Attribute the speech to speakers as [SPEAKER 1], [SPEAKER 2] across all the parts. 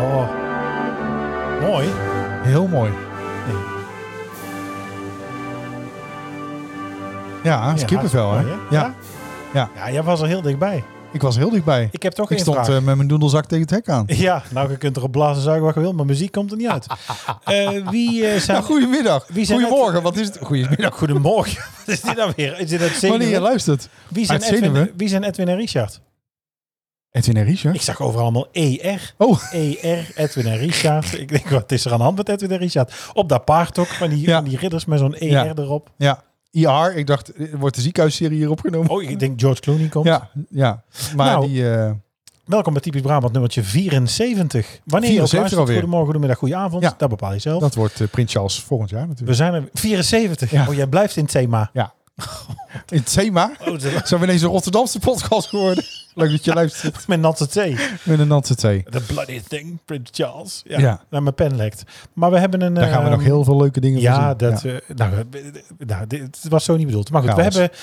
[SPEAKER 1] Oh. Mooi.
[SPEAKER 2] Heel mooi. Ja,
[SPEAKER 1] Ja,
[SPEAKER 2] kippenvel, hè?
[SPEAKER 1] hartstikke
[SPEAKER 2] Ja,
[SPEAKER 1] mooi,
[SPEAKER 2] ja,
[SPEAKER 1] Ja. ja, jij was er heel dichtbij.
[SPEAKER 2] ik was heel dichtbij.
[SPEAKER 1] Ik heb toch
[SPEAKER 2] Ik
[SPEAKER 1] één
[SPEAKER 2] stond
[SPEAKER 1] vraag.
[SPEAKER 2] eh, met mijn doedelzak tegen het hek aan.
[SPEAKER 1] Ja, nou, je kunt erop blazen zuigen wat je wil, maar muziek komt er niet uit. Eh, wie eh, zijn...
[SPEAKER 2] Nou, goedemiddag.
[SPEAKER 1] Wie zijn
[SPEAKER 2] Goedemorgen, wat is het? Goedemiddag.
[SPEAKER 1] Goedemorgen. Wat is dit nou weer? Is dit uit Zenuwen?
[SPEAKER 2] Wanneer je luistert.
[SPEAKER 1] Wie zijn,
[SPEAKER 2] Uit Zenuwen?
[SPEAKER 1] Edwin, wie zijn Edwin en Richard?
[SPEAKER 2] Edwin en Richard.
[SPEAKER 1] Ik zag overal allemaal E ER.
[SPEAKER 2] Oh,
[SPEAKER 1] ER, Edwin en Richard. Ik denk, wat is er aan de hand met Edwin en Richard? Op dat paard ook, van die,
[SPEAKER 2] Ja.
[SPEAKER 1] van die ridders met zo'n ER
[SPEAKER 2] Ja.
[SPEAKER 1] erop.
[SPEAKER 2] ja. IR, ik dacht, eh, wordt de ziekenhuisserie hier opgenomen?
[SPEAKER 1] Oh, ik denk George Clooney komt.
[SPEAKER 2] Ja, ja. Maar
[SPEAKER 1] Nou,
[SPEAKER 2] die... eh,
[SPEAKER 1] Welkom bij Typisch Brabant nummertje 74. Wanneer je ook
[SPEAKER 2] 74
[SPEAKER 1] luistert,
[SPEAKER 2] alweer.
[SPEAKER 1] goedemorgen, goedemiddag, goedenavond.
[SPEAKER 2] Ja.
[SPEAKER 1] Dat bepaal je zelf.
[SPEAKER 2] dat wordt eh, Prins Charles volgend jaar
[SPEAKER 1] We
[SPEAKER 2] natuurlijk.
[SPEAKER 1] zijn er 74.
[SPEAKER 2] Ja.
[SPEAKER 1] Oh, jij blijft in het thema.
[SPEAKER 2] Ja. In het thema
[SPEAKER 1] Oh, dat
[SPEAKER 2] zijn we ineens een Rotterdamse podcast geworden. Leuk dat je luistert.
[SPEAKER 1] met natte thee.
[SPEAKER 2] Met een Nantes thee.
[SPEAKER 1] The bloody thing, Prince Charles. Ja,
[SPEAKER 2] Ja.
[SPEAKER 1] Nou, mijn pen lekt. Maar we hebben een...
[SPEAKER 2] Daar gaan we
[SPEAKER 1] eh,
[SPEAKER 2] nog heel veel leuke dingen van
[SPEAKER 1] Ja,
[SPEAKER 2] zien.
[SPEAKER 1] dat, eh, nou, eh, nou, dit het was zo niet bedoeld. Maar goed, we
[SPEAKER 2] Chaos.
[SPEAKER 1] hebben,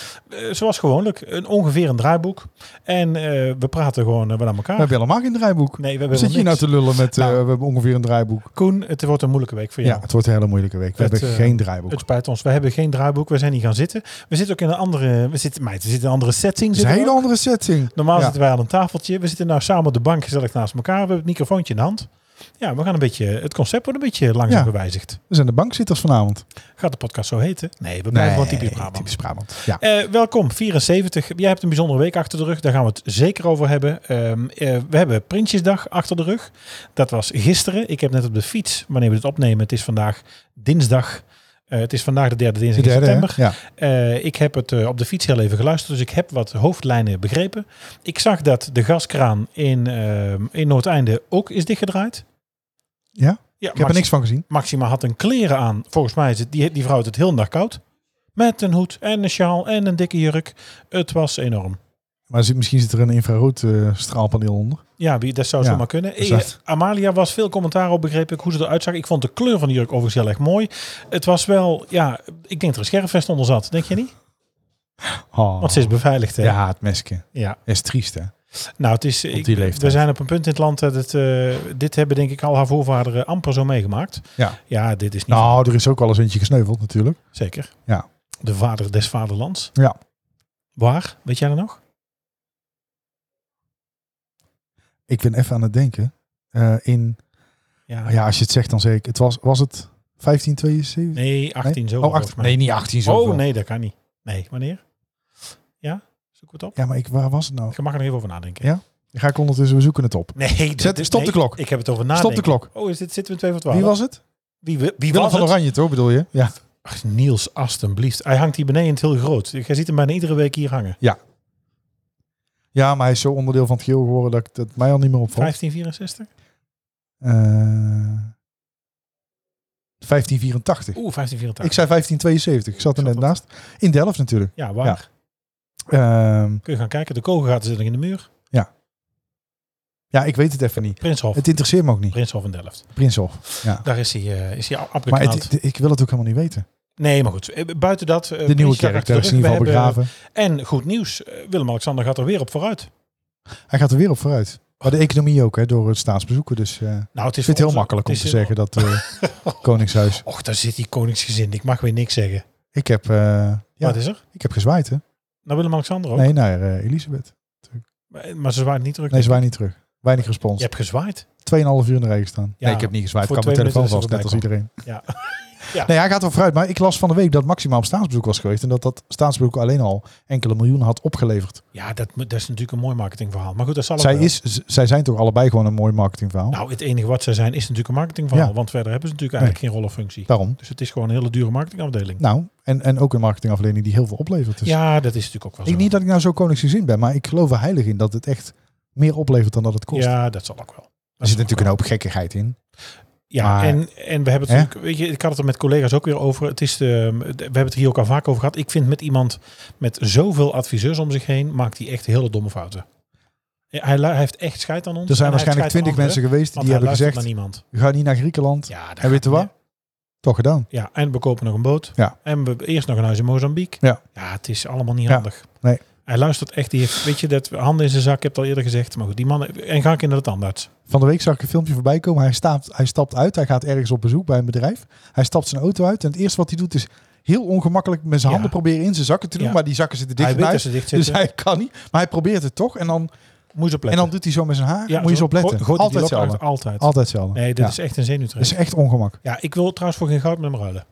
[SPEAKER 1] eh, zoals gewoonlijk, een ongeveer een draaiboek. En eh, we praten gewoon eh, wat aan elkaar.
[SPEAKER 2] We hebben helemaal geen draaiboek.
[SPEAKER 1] nee, we
[SPEAKER 2] We
[SPEAKER 1] hebben
[SPEAKER 2] Zit je hier
[SPEAKER 1] helemaal
[SPEAKER 2] nou te
[SPEAKER 1] niks.
[SPEAKER 2] lullen met eh,
[SPEAKER 1] Nou.
[SPEAKER 2] we hebben ongeveer een draaiboek?
[SPEAKER 1] Koen, het wordt een moeilijke week voor
[SPEAKER 2] Ja,
[SPEAKER 1] jou.
[SPEAKER 2] het wordt een hele moeilijke week. We
[SPEAKER 1] Het,
[SPEAKER 2] hebben
[SPEAKER 1] eh,
[SPEAKER 2] geen draaiboek.
[SPEAKER 1] Het spijt ons, we hebben geen draaiboek. We zijn hier gaan zitten. We zitten ook in een andere... We zitten, meid, we zitten in een andere setting.
[SPEAKER 2] Het is een
[SPEAKER 1] zitten we
[SPEAKER 2] hele
[SPEAKER 1] ook.
[SPEAKER 2] andere setting.
[SPEAKER 1] Normaal
[SPEAKER 2] Ja.
[SPEAKER 1] zitten wij aan een tafeltje. We zitten nou samen op de bank gezellig naast elkaar. We hebben het microfoontje in de hand. Ja, we gaan een beetje... Het concept wordt een beetje langzaam
[SPEAKER 2] Ja.
[SPEAKER 1] gewijzigd.
[SPEAKER 2] We zijn de bankzitters vanavond.
[SPEAKER 1] Gaat de podcast zo heten? Nee, we blijven wel typisch Brabant.
[SPEAKER 2] Typisch Brabant. Ja.
[SPEAKER 1] Eh, welkom, 74. Jij hebt een bijzondere week achter de rug. Daar gaan we het zeker over hebben. Ehm, eh, we hebben Prinsjesdag achter de rug. Dat was gisteren. Ik heb net op de fiets, wanneer we dit opnemen, het is vandaag dinsdag. Eh, het is vandaag de derde dinsdag
[SPEAKER 2] De derde,
[SPEAKER 1] in
[SPEAKER 2] hè?
[SPEAKER 1] september.
[SPEAKER 2] Ja.
[SPEAKER 1] Eh, ik heb het eh, op de fiets heel even geluisterd, dus ik heb wat hoofdlijnen begrepen. Ik zag dat de gaskraan in, ehm in Noordeinde ook is dichtgedraaid.
[SPEAKER 2] Ja?
[SPEAKER 1] Ja,
[SPEAKER 2] Ik heb er niks van gezien.
[SPEAKER 1] Maxima had een kleren aan. Volgens mij is het, die, die vrouw had het heel dag koud. Met een hoed en een sjaal en een dikke jurk. Het was enorm.
[SPEAKER 2] Maar er zit- misschien zit er een infraroodstraalpaneel straalpaneel onder.
[SPEAKER 1] Ja, wie, dat zou
[SPEAKER 2] Ja,
[SPEAKER 1] zomaar kunnen. Eh,
[SPEAKER 2] exact.
[SPEAKER 1] Amalia was veel commentaar op, begreep ik, hoe ze eruit zag. Ik vond de kleur van de jurk overigens heel erg mooi. Het was wel, ja, ik denk dat er een scherfvest onder zat. Denk je niet?
[SPEAKER 2] Oh.
[SPEAKER 1] Want ze is beveiligd, hè?
[SPEAKER 2] Ja, het mesken.
[SPEAKER 1] ja.
[SPEAKER 2] Is triest, hè?
[SPEAKER 1] Nou, het is, ik-
[SPEAKER 2] die leeftijd.
[SPEAKER 1] we zijn op een punt in het land dat het, eh, dit hebben denk ik al haar voorvaderen amper zo meegemaakt.
[SPEAKER 2] Ja.
[SPEAKER 1] Ja, dit is niet
[SPEAKER 2] Nou, er is ook al eens eentje gesneuveld natuurlijk.
[SPEAKER 1] zeker.
[SPEAKER 2] Ja.
[SPEAKER 1] De vader des vaderlands.
[SPEAKER 2] Ja.
[SPEAKER 1] Waar? Weet jij dat nog?
[SPEAKER 2] Ik ben even aan het denken. Eh, in,
[SPEAKER 1] Ja.
[SPEAKER 2] ja, als je het zegt dan zeker. Het was, was het 1572?
[SPEAKER 1] Nee, 18 zo.
[SPEAKER 2] oh, 18, nee, niet 18 zo.
[SPEAKER 1] oh nee, dat kan niet. Nee, wanneer? Ja, zoek het op.
[SPEAKER 2] Ja, maar ik, waar was het nou?
[SPEAKER 1] Je mag er nog even over nadenken.
[SPEAKER 2] Ja. Ga ik ondertussen, we zoeken het op.
[SPEAKER 1] Nee, dat
[SPEAKER 2] Zet-
[SPEAKER 1] is-
[SPEAKER 2] stop de
[SPEAKER 1] nee,
[SPEAKER 2] klok.
[SPEAKER 1] Ik heb het over nadenken.
[SPEAKER 2] Stop de klok.
[SPEAKER 1] Oh, is dit, zitten we in 2 voor 12?
[SPEAKER 2] Wie was het?
[SPEAKER 1] wie, wie, wie
[SPEAKER 2] Willem
[SPEAKER 1] was
[SPEAKER 2] van
[SPEAKER 1] het?
[SPEAKER 2] Oranje, toch bedoel je? Ja.
[SPEAKER 1] Ach, Niels, alstublieft. Hij hangt hier beneden in het heel groot. Jij ziet hem bijna iedere week hier hangen.
[SPEAKER 2] Ja, maar hij is zo onderdeel van het geheel geworden dat ik- dat mij al niet meer opvalt.
[SPEAKER 1] 1564?
[SPEAKER 2] Eh, 1584.
[SPEAKER 1] Oeh, 1584.
[SPEAKER 2] Ik zei 1572. Ik zat er
[SPEAKER 1] Ik
[SPEAKER 2] net
[SPEAKER 1] zat op-
[SPEAKER 2] naast. In Delft natuurlijk.
[SPEAKER 1] Ja, waar?
[SPEAKER 2] Ja. Ehm,
[SPEAKER 1] Kun je gaan kijken. De kogelgaten zitten nog in de muur.
[SPEAKER 2] ja, ik weet het even niet.
[SPEAKER 1] Prinshof.
[SPEAKER 2] Het interesseert me ook niet.
[SPEAKER 1] Prinshof in Delft.
[SPEAKER 2] Prinshof. Ja.
[SPEAKER 1] Daar is hij, eh, is hij a-
[SPEAKER 2] Maar het-
[SPEAKER 1] abgeknald.
[SPEAKER 2] het- ik wil het ook helemaal niet weten.
[SPEAKER 1] Nee, maar goed. Eh, Buiten dat... eh,
[SPEAKER 2] De nieuwe
[SPEAKER 1] Prinsjesdag
[SPEAKER 2] kerk,
[SPEAKER 1] achter
[SPEAKER 2] daar
[SPEAKER 1] de
[SPEAKER 2] is in
[SPEAKER 1] rug.
[SPEAKER 2] ieder
[SPEAKER 1] We
[SPEAKER 2] geval
[SPEAKER 1] hebben-
[SPEAKER 2] begraven.
[SPEAKER 1] En goed nieuws. eh, Willem-Alexander gaat er weer op vooruit.
[SPEAKER 2] Hij gaat er weer op vooruit. Maar de economie ook, hè, door het staatsbezoeken. Dus eh, ik
[SPEAKER 1] Nou, het is
[SPEAKER 2] vind het heel
[SPEAKER 1] voor ons-
[SPEAKER 2] makkelijk om
[SPEAKER 1] het
[SPEAKER 2] te
[SPEAKER 1] is
[SPEAKER 2] zeggen dat eh, Koningshuis.
[SPEAKER 1] Och, daar zit die koningsgezin. Ik mag weer niks zeggen.
[SPEAKER 2] Ik heb, eh, ja,
[SPEAKER 1] Wat is er?
[SPEAKER 2] ik heb gezwaaid, hè?
[SPEAKER 1] Nou, Willem-Alexander ook.
[SPEAKER 2] Nee, naar eh, Elisabeth.
[SPEAKER 1] Maar- eh, Maar ze zwaait niet terug.
[SPEAKER 2] Nee, ze waren niet terug. Weinig respons.
[SPEAKER 1] Je hebt gezwaaid.
[SPEAKER 2] 2,5 uur in de regen staan.
[SPEAKER 1] Ja,
[SPEAKER 2] nee, ik heb niet gezwaaid. Ik
[SPEAKER 1] voor
[SPEAKER 2] had mijn
[SPEAKER 1] twee
[SPEAKER 2] telefoon vast,
[SPEAKER 1] minuten
[SPEAKER 2] net
[SPEAKER 1] is
[SPEAKER 2] als
[SPEAKER 1] het Ja.
[SPEAKER 2] iedereen. Nee, hij gaat er vooruit. Maar ik las van de week dat Maxima op staatsbezoek was geweest. En dat dat staatsbezoek alleen al enkele miljoenen had opgeleverd.
[SPEAKER 1] Ja, dat, moet- dat is natuurlijk een mooi marketingverhaal. Maar goed, dat zal ook
[SPEAKER 2] Zij,
[SPEAKER 1] wel.
[SPEAKER 2] is, z- zij zijn toch allebei gewoon een mooi marketingverhaal?
[SPEAKER 1] Nou, het enige wat zij zijn is natuurlijk een marketingverhaal.
[SPEAKER 2] Ja.
[SPEAKER 1] Want verder hebben ze natuurlijk eigenlijk geen rol of functie.
[SPEAKER 2] Waarom?
[SPEAKER 1] Dus het is gewoon een hele dure marketingafdeling.
[SPEAKER 2] Nou, en, en ook een marketingafdeling die heel veel oplevert. Dus
[SPEAKER 1] ja, dat is natuurlijk ook wel zo.
[SPEAKER 2] ik niet dat ik nou zo koningsgezin ben, maar ik geloof er heilig in dat het echt meer oplevert dan dat het kost.
[SPEAKER 1] ja, dat zal ook wel.
[SPEAKER 2] Er zit natuurlijk een hoop gekkigheid in.
[SPEAKER 1] Ja,
[SPEAKER 2] Maar-
[SPEAKER 1] en, en we hebben het
[SPEAKER 2] Hè?
[SPEAKER 1] natuurlijk, weet je, ik had het er met collega's ook weer over. Het is de, we hebben het hier ook al vaak over gehad. Ik vind met iemand met zoveel adviseurs om zich heen, maakt hij echt hele domme fouten. Ja, Hij, lu- hij heeft echt scheid aan ons.
[SPEAKER 2] Er zijn
[SPEAKER 1] en hij heeft
[SPEAKER 2] waarschijnlijk
[SPEAKER 1] scheid
[SPEAKER 2] twintig
[SPEAKER 1] aan anderen,
[SPEAKER 2] mensen geweest die
[SPEAKER 1] want hij
[SPEAKER 2] hebben
[SPEAKER 1] luistert
[SPEAKER 2] gezegd,
[SPEAKER 1] naar niemand.
[SPEAKER 2] ga niet naar Griekenland.
[SPEAKER 1] Ja, daar
[SPEAKER 2] en weet je
[SPEAKER 1] gaat-
[SPEAKER 2] wat? Toch gedaan.
[SPEAKER 1] Ja, en we kopen nog een boot.
[SPEAKER 2] Ja.
[SPEAKER 1] En we eerst nog een huis in Mozambique.
[SPEAKER 2] Ja.
[SPEAKER 1] ja het is allemaal niet
[SPEAKER 2] Ja,
[SPEAKER 1] handig.
[SPEAKER 2] nee.
[SPEAKER 1] Hij luistert echt, die heeft, weet je, dat handen in zijn zak, ik heb het al eerder gezegd. Maar goed, die man, en ga ik in de tandarts.
[SPEAKER 2] Van de week zag ik een filmpje voorbij komen. Hij, staat, hij stapt uit. Hij gaat ergens op bezoek bij een bedrijf. Hij stapt zijn auto uit. En het eerste wat hij doet is heel ongemakkelijk met
[SPEAKER 1] Ja.
[SPEAKER 2] zijn handen proberen in zijn zakken te doen.
[SPEAKER 1] Ja.
[SPEAKER 2] Maar die zakken zitten dicht
[SPEAKER 1] hij
[SPEAKER 2] in
[SPEAKER 1] weet dat
[SPEAKER 2] huis.
[SPEAKER 1] ze dicht
[SPEAKER 2] Dus
[SPEAKER 1] zitten.
[SPEAKER 2] hij kan niet. Maar hij probeert het toch. En dan,
[SPEAKER 1] Moet je op
[SPEAKER 2] en
[SPEAKER 1] letten.
[SPEAKER 2] dan doet hij zo met zijn haar.
[SPEAKER 1] Ja,
[SPEAKER 2] Moet je
[SPEAKER 1] zo-
[SPEAKER 2] zo opletten.
[SPEAKER 1] gooit hij die
[SPEAKER 2] Altijd
[SPEAKER 1] lok
[SPEAKER 2] hetzelfde.
[SPEAKER 1] uit, Altijd.
[SPEAKER 2] Altijd hetzelfde.
[SPEAKER 1] Nee, dit
[SPEAKER 2] Ja. Dus-
[SPEAKER 1] is echt een
[SPEAKER 2] Dat is
[SPEAKER 1] zenuwtrek.
[SPEAKER 2] echt ongemak.
[SPEAKER 1] Ja, ik wil trouwens voor geen goud met hem ruilen.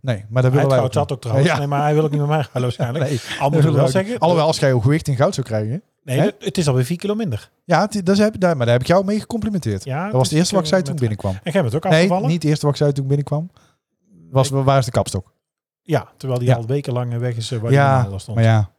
[SPEAKER 2] Nee, maar dat
[SPEAKER 1] Hij
[SPEAKER 2] willen wij
[SPEAKER 1] trouwt
[SPEAKER 2] ook
[SPEAKER 1] dat
[SPEAKER 2] niet.
[SPEAKER 1] ook trouwens.
[SPEAKER 2] Ja.
[SPEAKER 1] Nee, maar hij wil ook niet met mij ruilen waarschijnlijk.
[SPEAKER 2] Nee,
[SPEAKER 1] Al
[SPEAKER 2] dat
[SPEAKER 1] moet ik
[SPEAKER 2] willen
[SPEAKER 1] wel
[SPEAKER 2] we ook
[SPEAKER 1] zeggen.
[SPEAKER 2] niet. Alhoewel, als jij je gewicht in goud zou krijgen.
[SPEAKER 1] nee,
[SPEAKER 2] Hè?
[SPEAKER 1] het- het is alweer 4 kilo minder.
[SPEAKER 2] Ja, het- dat heb, daar, maar daar heb ik jou mee gecomplimenteerd.
[SPEAKER 1] Ja,
[SPEAKER 2] dat was het eerste wat
[SPEAKER 1] eh,
[SPEAKER 2] ik zei toen ik binnenkwam.
[SPEAKER 1] En jij bent ook
[SPEAKER 2] Nee,
[SPEAKER 1] afgevallen?
[SPEAKER 2] niet het eerste wat ik zei toen ik binnenkwam. Was, waar is de kapstok?
[SPEAKER 1] Ja, terwijl die
[SPEAKER 2] Ja.
[SPEAKER 1] al weken lang eh, weg is eh, waar
[SPEAKER 2] Ja,
[SPEAKER 1] die normaal al stond.
[SPEAKER 2] Maar ja,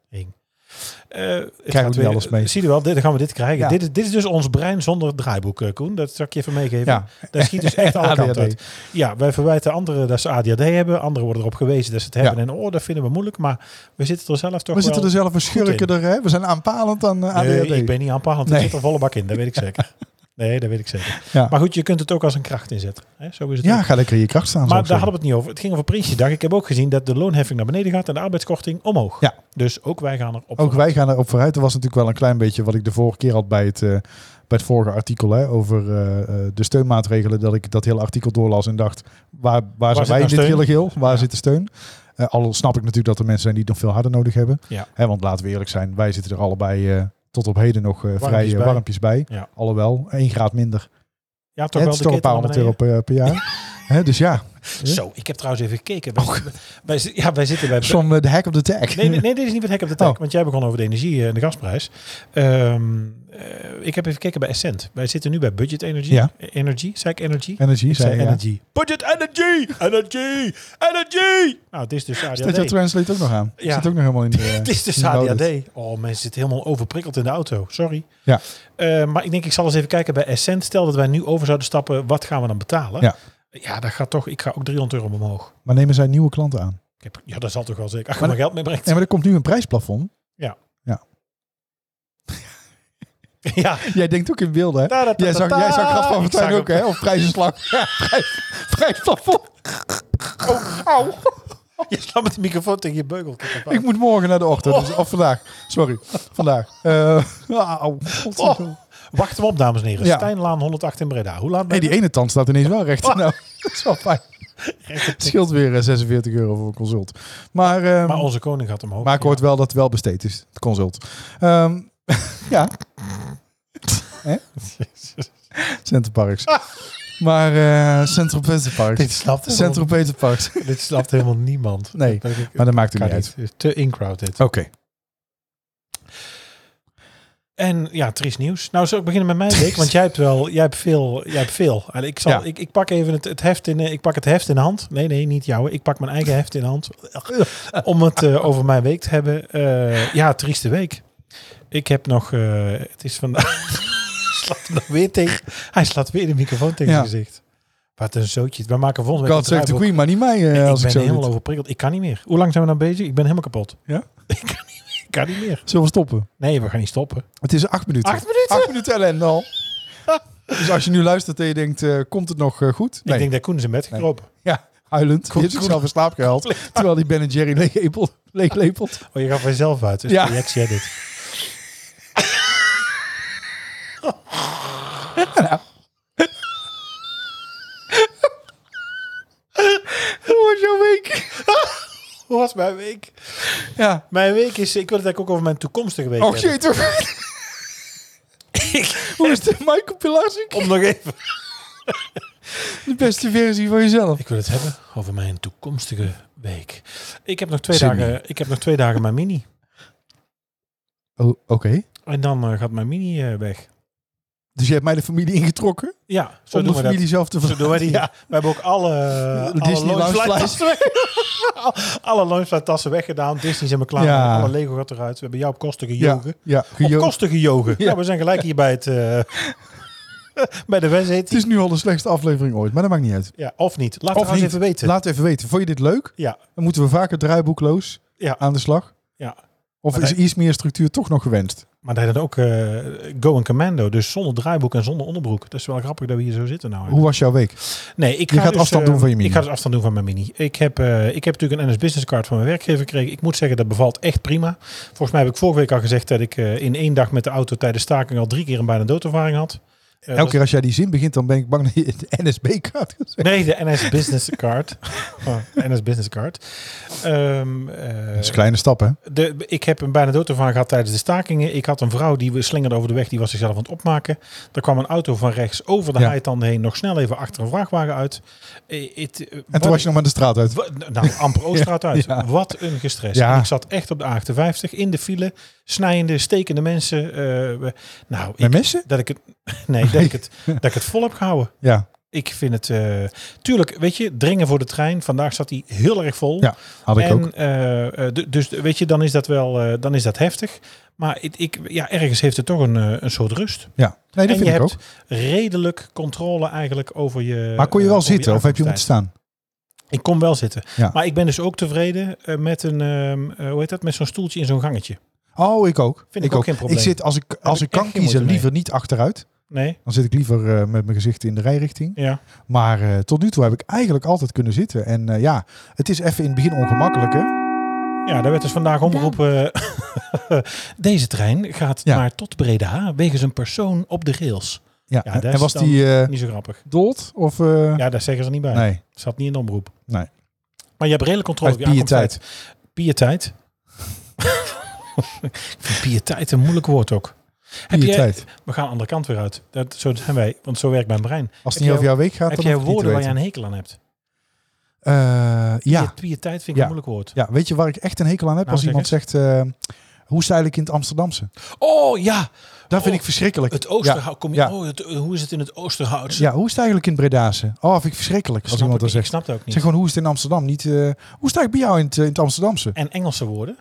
[SPEAKER 1] Eh, het
[SPEAKER 2] Krijgen we
[SPEAKER 1] gaat
[SPEAKER 2] niet alles mee.
[SPEAKER 1] Zie je wel, dit, dan gaan we dit krijgen.
[SPEAKER 2] Ja.
[SPEAKER 1] Dit, is, dit is dus ons brein zonder draaiboek, eh, Koen. Dat zal ik je even meegeven.
[SPEAKER 2] ja.
[SPEAKER 1] Daar schiet dus echt alle kanten
[SPEAKER 2] ADHD.
[SPEAKER 1] uit. Ja, wij verwijten anderen dat ze ADHD hebben. Anderen worden erop gewezen dat ze het hebben. En oh, dat vinden we moeilijk. Maar we zitten er zelf toch wel...
[SPEAKER 2] We zitten er zelf een schurken
[SPEAKER 1] in.
[SPEAKER 2] er, hè? We zijn aanpalend aan eh, ADHD.
[SPEAKER 1] Nee, ik ben niet aanpalend. Het
[SPEAKER 2] Nee.
[SPEAKER 1] zit er volle bak in, dat weet ik zeker. Nee, dat weet ik zeker.
[SPEAKER 2] Ja.
[SPEAKER 1] Maar goed, je kunt het ook als een kracht inzetten. Hè? Zo is het
[SPEAKER 2] Ja,
[SPEAKER 1] ook.
[SPEAKER 2] ga lekker in je kracht staan. zou
[SPEAKER 1] Maar
[SPEAKER 2] ik
[SPEAKER 1] daar
[SPEAKER 2] zeggen.
[SPEAKER 1] hadden we het niet over. Het ging over Prinsjesdag. Ik heb ook gezien dat de loonheffing naar beneden gaat en de arbeidskorting omhoog.
[SPEAKER 2] Ja.
[SPEAKER 1] Dus ook wij gaan erop.
[SPEAKER 2] Ook wij gaan erop vooruit. Er was natuurlijk wel een klein beetje wat ik de vorige keer had bij het, eh, bij het vorige artikel. Hè, over eh, eh, de steunmaatregelen. Dat ik dat hele artikel doorlas en dacht, waar,
[SPEAKER 1] zit
[SPEAKER 2] waar, zijn wij
[SPEAKER 1] nou
[SPEAKER 2] in dit
[SPEAKER 1] steun?
[SPEAKER 2] hele geel? Waar
[SPEAKER 1] Ja.
[SPEAKER 2] zit de steun? Eh, al snap ik natuurlijk dat er mensen zijn die het nog veel harder nodig hebben.
[SPEAKER 1] Ja.
[SPEAKER 2] Hè, want laten we eerlijk zijn, wij zitten er allebei eh, tot op heden nog eh, vrij eh,
[SPEAKER 1] bij.
[SPEAKER 2] warmpjes bij.
[SPEAKER 1] Ja.
[SPEAKER 2] Alhoewel, één graad minder.
[SPEAKER 1] Ja,
[SPEAKER 2] Hè,
[SPEAKER 1] toch
[SPEAKER 2] het
[SPEAKER 1] wel
[SPEAKER 2] is
[SPEAKER 1] de
[SPEAKER 2] toch een paar
[SPEAKER 1] ketel
[SPEAKER 2] honderd
[SPEAKER 1] naar
[SPEAKER 2] euro per, per jaar. Hè, dus ja,
[SPEAKER 1] beneden. Zo, ik heb trouwens even gekeken. Wij, wij zi- ja, wij zitten bij...
[SPEAKER 2] zo'n eh, de hek op de tag.
[SPEAKER 1] Nee, nee, nee, dit is niet wat hek op de tak.
[SPEAKER 2] Oh.
[SPEAKER 1] Want jij begon over de energie eh, en de gasprijs. Ehm, eh, ik heb even gekeken bij Essent. Wij zitten nu bij Budget Energy.
[SPEAKER 2] Ja.
[SPEAKER 1] Eh, Energy, zei ik Energy?
[SPEAKER 2] Energie,
[SPEAKER 1] Ik
[SPEAKER 2] zei
[SPEAKER 1] zei
[SPEAKER 2] je, ja.
[SPEAKER 1] Energy. Budget Energy! Energy! Energy! Nou, het is dus
[SPEAKER 2] Staat jouw
[SPEAKER 1] ADHD.
[SPEAKER 2] translate ook nog aan?
[SPEAKER 1] Ja.
[SPEAKER 2] Zit ook nog helemaal in de...
[SPEAKER 1] Het is dus
[SPEAKER 2] in de
[SPEAKER 1] ADHD.
[SPEAKER 2] nodig.
[SPEAKER 1] Oh, mensen zitten helemaal overprikkeld in de auto. Sorry.
[SPEAKER 2] Ja.
[SPEAKER 1] Eh, maar ik denk, ik zal eens even kijken bij Essent. Stel dat wij nu over zouden stappen, wat gaan we dan betalen?
[SPEAKER 2] Ja.
[SPEAKER 1] Ja, dat gaat toch, ik ga ook 300 euro omhoog.
[SPEAKER 2] Maar nemen zij nieuwe klanten aan?
[SPEAKER 1] Ik heb, ja, dat zal toch wel zeker. Als je
[SPEAKER 2] Maar-
[SPEAKER 1] maar geld meebrengt.
[SPEAKER 2] Nee, maar er komt nu een prijsplafond.
[SPEAKER 1] Ja.
[SPEAKER 2] Jij denkt ook in beelden, hè?
[SPEAKER 1] Ta-da-ta-ta-ta.
[SPEAKER 2] Jij zag, jij zag Gast van
[SPEAKER 1] Ik zag
[SPEAKER 2] Fortuyn
[SPEAKER 1] hem.
[SPEAKER 2] ook, hè? Of prijzenslag. Ja, prijs, prijsplafond.
[SPEAKER 1] Je slaat met de microfoon tegen je beugel.
[SPEAKER 2] Ik moet morgen naar de ochtend. Dus, of vandaag. Sorry. Vandaag. Eh auw.
[SPEAKER 1] Oh. Wacht hem op, dames en heren.
[SPEAKER 2] Ja.
[SPEAKER 1] Stijnlaan 108 in Breda. Hoe laat ben
[SPEAKER 2] Nee,
[SPEAKER 1] je?
[SPEAKER 2] die ene tand staat ineens wel recht.
[SPEAKER 1] Oh.
[SPEAKER 2] Nou, dat is wel fijn. Het scheelt weer eh, 46 euro voor een consult. Maar, ehm,
[SPEAKER 1] Maar onze koning gaat omhoog.
[SPEAKER 2] maar ik hoort wel dat het wel besteed is, het consult. Ehm, ja, Centerparks. Maar eh Central Peterparks.
[SPEAKER 1] Dit snapt helemaal,
[SPEAKER 2] Central Peterparks.
[SPEAKER 1] dit snapt helemaal niemand.
[SPEAKER 2] Nee,
[SPEAKER 1] Dat ik-
[SPEAKER 2] Maar dat maakt het
[SPEAKER 1] kan
[SPEAKER 2] niet
[SPEAKER 1] niet.
[SPEAKER 2] uit.
[SPEAKER 1] Het is Te in-crowd dit.
[SPEAKER 2] Oké.
[SPEAKER 1] En ja, triest nieuws. Nou, zou ik beginnen met mij, Dick? Want jij hebt wel, jij hebt veel, jij hebt veel. En Ik, zal,
[SPEAKER 2] Ja.
[SPEAKER 1] ik, ik pak even het, het heft in, eh, ik pak het heft in de hand. Nee, nee, niet jouw. Ik pak mijn eigen heft in de hand. Om het eh, over mijn week te hebben. Eh, ja, trieste week. Ik heb nog, eh, het is vandaag. slaat hem nog weer tegen. Hij slaat weer de microfoon tegen
[SPEAKER 2] Ja.
[SPEAKER 1] zijn gezicht. Wat een zootje. We maken volgende week
[SPEAKER 2] God
[SPEAKER 1] een
[SPEAKER 2] save the
[SPEAKER 1] draaiboek.
[SPEAKER 2] queen, maar niet mij eh,
[SPEAKER 1] Ik ben
[SPEAKER 2] als ik zo
[SPEAKER 1] helemaal
[SPEAKER 2] doe.
[SPEAKER 1] overprikkeld. Ik kan niet meer. Hoe lang zijn we nou bezig? Ik ben helemaal kapot.
[SPEAKER 2] Ja?
[SPEAKER 1] Ik kan niet, meer. ik kan niet meer.
[SPEAKER 2] Zullen we stoppen?
[SPEAKER 1] Nee, we gaan niet stoppen.
[SPEAKER 2] Het is acht minuten.
[SPEAKER 1] Acht minuten?
[SPEAKER 2] Acht minuten ellende al. dus als je nu luistert en je denkt, eh, komt het nog eh, goed? Nee.
[SPEAKER 1] Ik denk dat Koen is in bed gekropen.
[SPEAKER 2] ja, huilend. Je hebt
[SPEAKER 1] goed.
[SPEAKER 2] zichzelf in slaap gehaald. terwijl die Ben Jerry leeglepelt. leeglepelt.
[SPEAKER 1] Oh, je gaat vanzelf uit. Dus
[SPEAKER 2] Ja.
[SPEAKER 1] projectie hè, dit.
[SPEAKER 2] Hoe was jouw week?
[SPEAKER 1] Hoe was mijn week?
[SPEAKER 2] Ja.
[SPEAKER 1] Mijn week is... Ik wil het eigenlijk ook over mijn toekomstige week
[SPEAKER 2] Oh
[SPEAKER 1] hebben.
[SPEAKER 2] shit. Hoe is de Michael Pilarczyk?
[SPEAKER 1] Om nog even...
[SPEAKER 2] De beste versie van jezelf.
[SPEAKER 1] Ik wil het hebben over mijn toekomstige week. Ik heb nog twee,
[SPEAKER 2] Sydney.
[SPEAKER 1] dagen, ik heb nog twee dagen mijn mini.
[SPEAKER 2] Oh, oké.
[SPEAKER 1] En dan eh, gaat mijn mini eh, weg.
[SPEAKER 2] Dus je hebt mij de familie ingetrokken?
[SPEAKER 1] Ja, zo doen
[SPEAKER 2] om de
[SPEAKER 1] we dat.
[SPEAKER 2] familie zelf te
[SPEAKER 1] Zo doen we die.
[SPEAKER 2] verlaten? Ja.
[SPEAKER 1] We hebben ook alle,
[SPEAKER 2] De
[SPEAKER 1] alle
[SPEAKER 2] Disney
[SPEAKER 1] Lounge Flight
[SPEAKER 2] Loungeflies.
[SPEAKER 1] tassen weg- alle Loungeflight tassen weggedaan. Disney zijn we klaar. mee.
[SPEAKER 2] Ja.
[SPEAKER 1] Alle Lego gaat eruit. We hebben jou op kosten
[SPEAKER 2] Ja.
[SPEAKER 1] gejogen.
[SPEAKER 2] Ja.
[SPEAKER 1] Op
[SPEAKER 2] Gejo-
[SPEAKER 1] kosten gejogen.
[SPEAKER 2] Ja.
[SPEAKER 1] Ja. we zijn gelijk hier bij het... eh, Bij de wedstrijd.
[SPEAKER 2] Het is nu al de slechtste aflevering ooit, maar dat maakt niet uit.
[SPEAKER 1] Ja, of niet. Laat
[SPEAKER 2] Of
[SPEAKER 1] het ons
[SPEAKER 2] niet.
[SPEAKER 1] even weten.
[SPEAKER 2] Laat even weten, vond je dit leuk?
[SPEAKER 1] ja,
[SPEAKER 2] Dan moeten we vaker draaiboekloos
[SPEAKER 1] Ja.
[SPEAKER 2] aan de slag.
[SPEAKER 1] ja.
[SPEAKER 2] Of
[SPEAKER 1] Maar
[SPEAKER 2] is
[SPEAKER 1] nee.
[SPEAKER 2] iets meer structuur toch nog gewenst?
[SPEAKER 1] Maar hij dan ook eh, Go en Commando. Dus zonder draaiboek en zonder onderbroek. Dat is wel grappig dat we hier zo zitten nou.
[SPEAKER 2] Hoe was jouw week?
[SPEAKER 1] Nee, ik
[SPEAKER 2] Je
[SPEAKER 1] ga
[SPEAKER 2] gaat
[SPEAKER 1] dus,
[SPEAKER 2] afstand
[SPEAKER 1] eh,
[SPEAKER 2] doen van je mini.
[SPEAKER 1] Ik ga dus afstand doen van mijn mini. Ik heb, eh, ik heb natuurlijk een NS Business Card van mijn werkgever gekregen. Ik moet zeggen, dat bevalt echt prima. Volgens mij heb ik vorige week al gezegd dat ik eh, in één dag met de auto tijdens staking al drie keer een bijna doodervaring had. Eh,
[SPEAKER 2] Elke keer als jij die zin begint, dan ben ik bang dat je de NSB gaat.
[SPEAKER 1] dat is- Nee, de NS Business Card. Oh, NS Business Card. Ehm, eh,
[SPEAKER 2] Dat is een kleine stap, hè?
[SPEAKER 1] de, ik heb een bijna doodervaring gehad tijdens de stakingen. Ik had een vrouw die we slingerde over de weg, die was zichzelf aan het opmaken. Er kwam een auto van rechts over de
[SPEAKER 2] Ja.
[SPEAKER 1] heitanden heen, nog snel even achter een vrachtwagen uit. Eh, het, eh,
[SPEAKER 2] En
[SPEAKER 1] wat
[SPEAKER 2] toen
[SPEAKER 1] ik-
[SPEAKER 2] was je nog maar de straat uit.
[SPEAKER 1] Wa- Nou, amper Oostraat uit.
[SPEAKER 2] Ja.
[SPEAKER 1] Wat een gestres.
[SPEAKER 2] Ja.
[SPEAKER 1] En Ik zat echt op de A58 in de file, snijende, stekende mensen. eh, we- nou,
[SPEAKER 2] Met
[SPEAKER 1] ik,
[SPEAKER 2] messen?
[SPEAKER 1] dat ik het, nee, dat ik het, dat ik het vol heb gehouden.
[SPEAKER 2] Ja.
[SPEAKER 1] Ik vind het, eh, tuurlijk, weet je, dringen voor de trein. Vandaag zat hij heel erg vol.
[SPEAKER 2] Ja, had ik ook.
[SPEAKER 1] en, eh, eh, d- dus weet je, dan is dat wel, eh, dan is dat heftig. Maar ik, ik, ja, ergens heeft het toch een, eh, een soort rust.
[SPEAKER 2] Ja.
[SPEAKER 1] en
[SPEAKER 2] Nee, dat vind
[SPEAKER 1] je
[SPEAKER 2] ik
[SPEAKER 1] hebt
[SPEAKER 2] ook.
[SPEAKER 1] redelijk controle eigenlijk over je.
[SPEAKER 2] Maar kon je
[SPEAKER 1] eh,
[SPEAKER 2] wel
[SPEAKER 1] over
[SPEAKER 2] zitten of heb je
[SPEAKER 1] activiteiten.
[SPEAKER 2] moeten staan?
[SPEAKER 1] Ik kon wel zitten.
[SPEAKER 2] Ja.
[SPEAKER 1] Maar ik ben dus ook tevreden eh, met een, ehm, eh, hoe heet dat, met zo'n stoeltje in zo'n gangetje.
[SPEAKER 2] Oh, ik ook.
[SPEAKER 1] Vind ik ook geen probleem.
[SPEAKER 2] Ik zit, als ik, als
[SPEAKER 1] ik
[SPEAKER 2] ik,
[SPEAKER 1] echt geen
[SPEAKER 2] kan kiezen,
[SPEAKER 1] moeite mee.
[SPEAKER 2] liever niet achteruit.
[SPEAKER 1] Nee?
[SPEAKER 2] Dan zit ik liever eh, met mijn gezicht in de rijrichting.
[SPEAKER 1] Ja.
[SPEAKER 2] Maar eh, tot nu toe heb ik eigenlijk altijd kunnen zitten. En eh, ja, het is even in het begin ongemakkelijk. Hè?
[SPEAKER 1] Ja, daar werd dus vandaag omgeroepen. eh, Deze trein gaat
[SPEAKER 2] Ja.
[SPEAKER 1] maar tot Breda wegens een persoon op de rails.
[SPEAKER 2] Ja.
[SPEAKER 1] Ja, dat
[SPEAKER 2] en
[SPEAKER 1] is
[SPEAKER 2] was
[SPEAKER 1] dan-
[SPEAKER 2] die eh,
[SPEAKER 1] Niet zo grappig.
[SPEAKER 2] dood? Of, eh,
[SPEAKER 1] Ja, daar zeggen ze niet bij.
[SPEAKER 2] Nee,
[SPEAKER 1] Het Zat niet in de omroep.
[SPEAKER 2] Nee.
[SPEAKER 1] Maar je hebt redelijk controle
[SPEAKER 2] uit
[SPEAKER 1] op je aankomsttijd.
[SPEAKER 2] pietijd.
[SPEAKER 1] Pietijd. Ik vind pietijd een moeilijk woord ook. Heb jij-
[SPEAKER 2] Pietijd.
[SPEAKER 1] we gaan de andere kant weer uit. Dat, zo zijn wij, want zo werkt mijn brein.
[SPEAKER 2] Als
[SPEAKER 1] heb
[SPEAKER 2] het niet over
[SPEAKER 1] jij-
[SPEAKER 2] jouw week gaat,
[SPEAKER 1] Heb
[SPEAKER 2] dan
[SPEAKER 1] jij
[SPEAKER 2] hoef ik het
[SPEAKER 1] woorden waar
[SPEAKER 2] niet
[SPEAKER 1] je
[SPEAKER 2] te
[SPEAKER 1] een hekel aan hebt?
[SPEAKER 2] weten. Eh, ja.
[SPEAKER 1] Piet- Pietijd vind ik
[SPEAKER 2] Ja.
[SPEAKER 1] een moeilijk woord.
[SPEAKER 2] ja, weet je waar ik echt een hekel aan heb?
[SPEAKER 1] Nou,
[SPEAKER 2] als
[SPEAKER 1] zeg
[SPEAKER 2] iemand zegt, eh, hoe zeil ik in het Amsterdamse?
[SPEAKER 1] Oh ja,
[SPEAKER 2] Dat vind
[SPEAKER 1] Oh,
[SPEAKER 2] ik verschrikkelijk.
[SPEAKER 1] het Oosterhout. Kom je,
[SPEAKER 2] ja.
[SPEAKER 1] oh, het- hoe is het in het Oosterhout?
[SPEAKER 2] Ja, hoe is het eigenlijk in het Bredaanse? Oh, vind ik verschrikkelijk als
[SPEAKER 1] Snap
[SPEAKER 2] iemand
[SPEAKER 1] ik, ik
[SPEAKER 2] dat zegt.
[SPEAKER 1] snap het ook niet.
[SPEAKER 2] Zeg gewoon, hoe is het in Amsterdam? Niet, eh, hoe sta ik bij jou in het, eh, in het Amsterdamse?
[SPEAKER 1] En Engelse woorden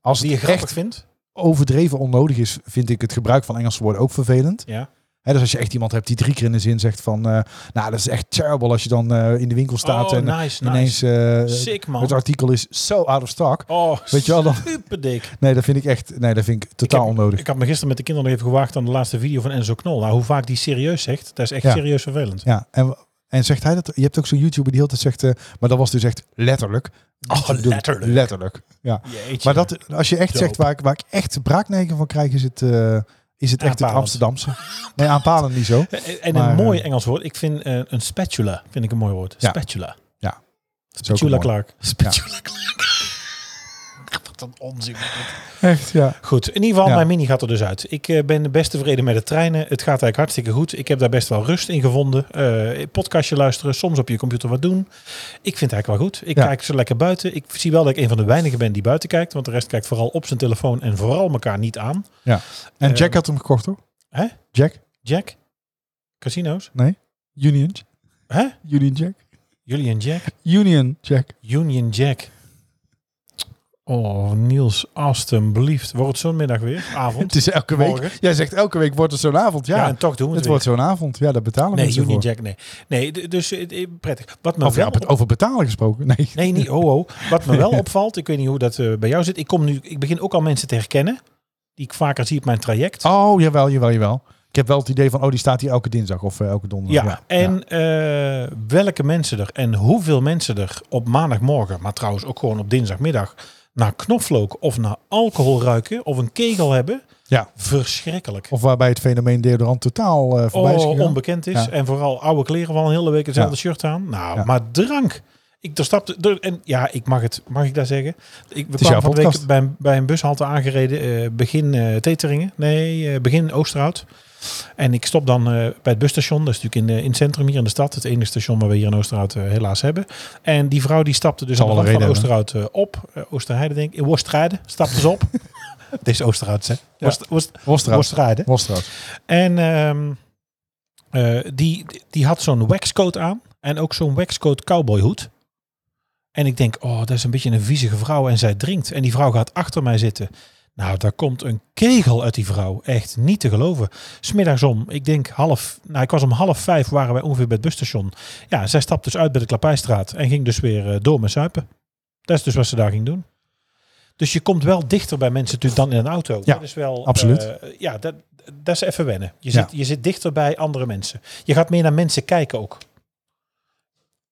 [SPEAKER 2] Als
[SPEAKER 1] die je
[SPEAKER 2] het
[SPEAKER 1] grappig
[SPEAKER 2] echt
[SPEAKER 1] vindt.
[SPEAKER 2] overdreven onnodig is, vind ik het gebruik van Engelse woorden ook vervelend.
[SPEAKER 1] Ja.
[SPEAKER 2] Hè, dus als je echt iemand hebt die drie keer in de zin zegt van... eh, nou, dat is echt terrible als je dan eh, in de winkel staat
[SPEAKER 1] oh,
[SPEAKER 2] en
[SPEAKER 1] nice,
[SPEAKER 2] ineens
[SPEAKER 1] nice.
[SPEAKER 2] eh,
[SPEAKER 1] Sick man.
[SPEAKER 2] het artikel is zo out of stock.
[SPEAKER 1] oh,
[SPEAKER 2] Weet je wel, dan-
[SPEAKER 1] superdik.
[SPEAKER 2] Nee, dat vind ik echt nee, dat vind ik totaal
[SPEAKER 1] heb-
[SPEAKER 2] onnodig.
[SPEAKER 1] Ik had me gisteren met de kinderen nog even gewaagd aan de laatste video van Enzo Knol. Nou, hoe vaak die serieus zegt, dat is echt
[SPEAKER 2] Ja.
[SPEAKER 1] serieus vervelend.
[SPEAKER 2] Ja, en, en zegt hij dat? Je hebt ook zo'n YouTuber die heel tijd zegt... eh, maar dat was dus echt letterlijk.
[SPEAKER 1] Oh,
[SPEAKER 2] Te bedoelen.
[SPEAKER 1] letterlijk.
[SPEAKER 2] Letterlijk, ja.
[SPEAKER 1] Jeetje.
[SPEAKER 2] Maar dat, als je echt
[SPEAKER 1] Dope.
[SPEAKER 2] zegt waar ik, waar ik echt braaknegen van krijg, is het, eh, is het echt het
[SPEAKER 1] Aanpalend.
[SPEAKER 2] Amsterdamse. Nee, aanpalend niet zo.
[SPEAKER 1] En- en
[SPEAKER 2] maar,
[SPEAKER 1] een
[SPEAKER 2] eh,
[SPEAKER 1] mooi Engels woord. Ik vind eh, een spatula, vind ik een mooi woord.
[SPEAKER 2] Ja.
[SPEAKER 1] Spatula.
[SPEAKER 2] Is ook
[SPEAKER 1] Spatula
[SPEAKER 2] mooi.
[SPEAKER 1] Clark. Spatula Clark. Wat een onzin. is dit.
[SPEAKER 2] Echt, ja.
[SPEAKER 1] Goed, in ieder geval,
[SPEAKER 2] Ja.
[SPEAKER 1] mijn mini gaat er dus uit. Ik eh, ben best tevreden met de treinen. Het gaat eigenlijk hartstikke goed. Ik heb daar best wel rust in gevonden. Eh, podcastje luisteren, soms op je computer wat doen. Ik vind het eigenlijk wel goed. Ik
[SPEAKER 2] Ja.
[SPEAKER 1] kijk zo lekker buiten. Ik zie wel dat ik een van de weinigen ben die buiten kijkt. Want de rest kijkt vooral op zijn telefoon en vooral elkaar niet aan.
[SPEAKER 2] En
[SPEAKER 1] Eh,
[SPEAKER 2] Jack had hem gekocht, hoor.
[SPEAKER 1] Hè?
[SPEAKER 2] Jack?
[SPEAKER 1] Jack? Casino's?
[SPEAKER 2] Union?
[SPEAKER 1] Hè?
[SPEAKER 2] Union Jack?
[SPEAKER 1] Julian Jack?
[SPEAKER 2] Union Jack.
[SPEAKER 1] Union Jack. Oh, Niels, alstublieft. Wordt het zo'n middag weer? Avond?
[SPEAKER 2] Het is elke week.
[SPEAKER 1] Morgen.
[SPEAKER 2] Jij zegt elke week wordt het zo'n avond. Ja,
[SPEAKER 1] Ja, en toch doen we het,
[SPEAKER 2] het
[SPEAKER 1] weer.
[SPEAKER 2] wordt zo'n avond. Ja, daar betalen
[SPEAKER 1] Nee,
[SPEAKER 2] mensen
[SPEAKER 1] Union
[SPEAKER 2] voor.
[SPEAKER 1] Jack, nee. Nee, d- dus eh, eh, prettig. Wat me
[SPEAKER 2] Of ja,
[SPEAKER 1] wel
[SPEAKER 2] bet-
[SPEAKER 1] op-
[SPEAKER 2] over betalen gesproken. Nee.
[SPEAKER 1] Nee, niet oh, oh. Wat me wel opvalt, ik weet niet hoe dat eh, bij jou zit. Ik, kom nu, ik begin ook al mensen te herkennen. Die ik vaker zie op mijn traject.
[SPEAKER 2] Oh, jawel, jawel, jawel. Ik heb wel het idee van, oh, die staat hier elke dinsdag of eh, elke
[SPEAKER 1] ja,
[SPEAKER 2] donderdag.
[SPEAKER 1] en eh, welke mensen er en hoeveel mensen er op maandagmorgen, maar trouwens ook gewoon op dinsdagmiddag, naar knoflook of naar alcohol ruiken of een kegel hebben.
[SPEAKER 2] Ja.
[SPEAKER 1] Verschrikkelijk.
[SPEAKER 2] Of waarbij het fenomeen deodorant totaal eh voorbij is
[SPEAKER 1] Oh,
[SPEAKER 2] gegaan.
[SPEAKER 1] onbekend is.
[SPEAKER 2] Ja.
[SPEAKER 1] En vooral oude kleren van een hele week hetzelfde
[SPEAKER 2] Ja.
[SPEAKER 1] shirt aan. Nou,
[SPEAKER 2] Ja.
[SPEAKER 1] maar drank. Ik er stapte er en ja, ik mag het, mag ik daar zeggen? Ik we
[SPEAKER 2] is jouw
[SPEAKER 1] kwamen van de week
[SPEAKER 2] podcast.
[SPEAKER 1] bij, een- bij een bushalte aangereden, eh, begin eh Teteringen, nee, eh, begin Oosterhout. En ik stop dan eh, bij het busstation, dat is natuurlijk in, eh, in het centrum hier in de stad, het enige station waar we hier in Oosterhout eh, helaas hebben. En die vrouw die stapte dus
[SPEAKER 2] Zal
[SPEAKER 1] aan de
[SPEAKER 2] wel
[SPEAKER 1] rand
[SPEAKER 2] een
[SPEAKER 1] van
[SPEAKER 2] reden
[SPEAKER 1] Oosterhout eh, op, Eh, Oosterheide denk ik, in Worstrijden stapte ze op. Dit is Oosterhout, hè? Worst, Worst,
[SPEAKER 2] Wostraat.
[SPEAKER 1] Worstrijden.
[SPEAKER 2] Wostraat.
[SPEAKER 1] En ehm, eh, die, die had zo'n waxcoat aan. En ook zo'n waxcoat cowboyhoed. En ik denk, oh, dat is een beetje een viezige vrouw. En zij drinkt. En die vrouw gaat achter mij zitten. Nou, daar komt een kegel uit die vrouw. Echt niet te geloven. Smiddags om, ik denk half... Nou, ik was om half vijf waren wij ongeveer bij het busstation. Ja, zij stapte dus uit bij de Klapijstraat en ging dus weer eh, door met zuipen. Dat is dus wat ze daar ging doen. Dus je komt wel dichter bij mensen natuurlijk dan in een auto.
[SPEAKER 2] Ja,
[SPEAKER 1] dat is wel,
[SPEAKER 2] absoluut.
[SPEAKER 1] eh, ja, dat, dat is even wennen. Je,
[SPEAKER 2] Ja.
[SPEAKER 1] zit, je zit dichter bij andere mensen. Je gaat meer naar mensen kijken ook.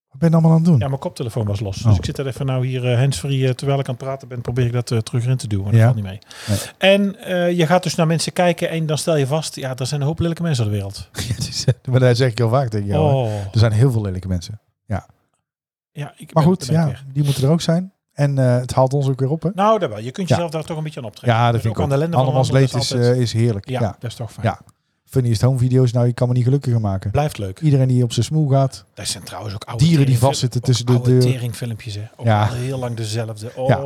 [SPEAKER 2] Wat ben je allemaal aan het doen?
[SPEAKER 1] Ja, mijn koptelefoon was los.
[SPEAKER 2] Oh.
[SPEAKER 1] Dus ik zit er even nou hier eh, handsfree, eh, terwijl ik aan het praten ben, probeer ik dat eh, terug in te duwen. Dat
[SPEAKER 2] Ja.
[SPEAKER 1] valt niet mee.
[SPEAKER 2] Nee.
[SPEAKER 1] En eh, je gaat dus naar mensen kijken en dan stel je vast, ja, er zijn een hoop lelijke mensen op de wereld.
[SPEAKER 2] maar dat zeg ik heel vaak tegen jou. hè.
[SPEAKER 1] oh.
[SPEAKER 2] Er zijn heel veel lelijke mensen.
[SPEAKER 1] ja, ik
[SPEAKER 2] Maar
[SPEAKER 1] ben-
[SPEAKER 2] goed,
[SPEAKER 1] daar ben ik
[SPEAKER 2] ja,
[SPEAKER 1] weer.
[SPEAKER 2] die moeten er ook zijn. En eh, het haalt ons ook weer op, hè?
[SPEAKER 1] Nou, dat wel. Je kunt
[SPEAKER 2] Ja.
[SPEAKER 1] jezelf daar toch een beetje aan optrekken.
[SPEAKER 2] Ja, dat
[SPEAKER 1] Dus
[SPEAKER 2] vind ik
[SPEAKER 1] ook.
[SPEAKER 2] ook.
[SPEAKER 1] aan de ellende van
[SPEAKER 2] Allemaal
[SPEAKER 1] een ander
[SPEAKER 2] leed is,
[SPEAKER 1] is altijd-
[SPEAKER 2] eh, is heerlijk.
[SPEAKER 1] ja,
[SPEAKER 2] Ja.
[SPEAKER 1] dat is toch fijn.
[SPEAKER 2] Ja. Funniest home video's, nou, je kan me niet gelukkiger maken.
[SPEAKER 1] Blijft leuk.
[SPEAKER 2] Iedereen die op zijn smoel gaat.
[SPEAKER 1] Dat zijn trouwens ook oude
[SPEAKER 2] Dieren die
[SPEAKER 1] teringfil-
[SPEAKER 2] vastzitten
[SPEAKER 1] ook
[SPEAKER 2] tussen de
[SPEAKER 1] oude
[SPEAKER 2] deur.
[SPEAKER 1] teringfilmpjes, hè. Ook
[SPEAKER 2] Ja.
[SPEAKER 1] al heel lang dezelfde. Oh.
[SPEAKER 2] Ja.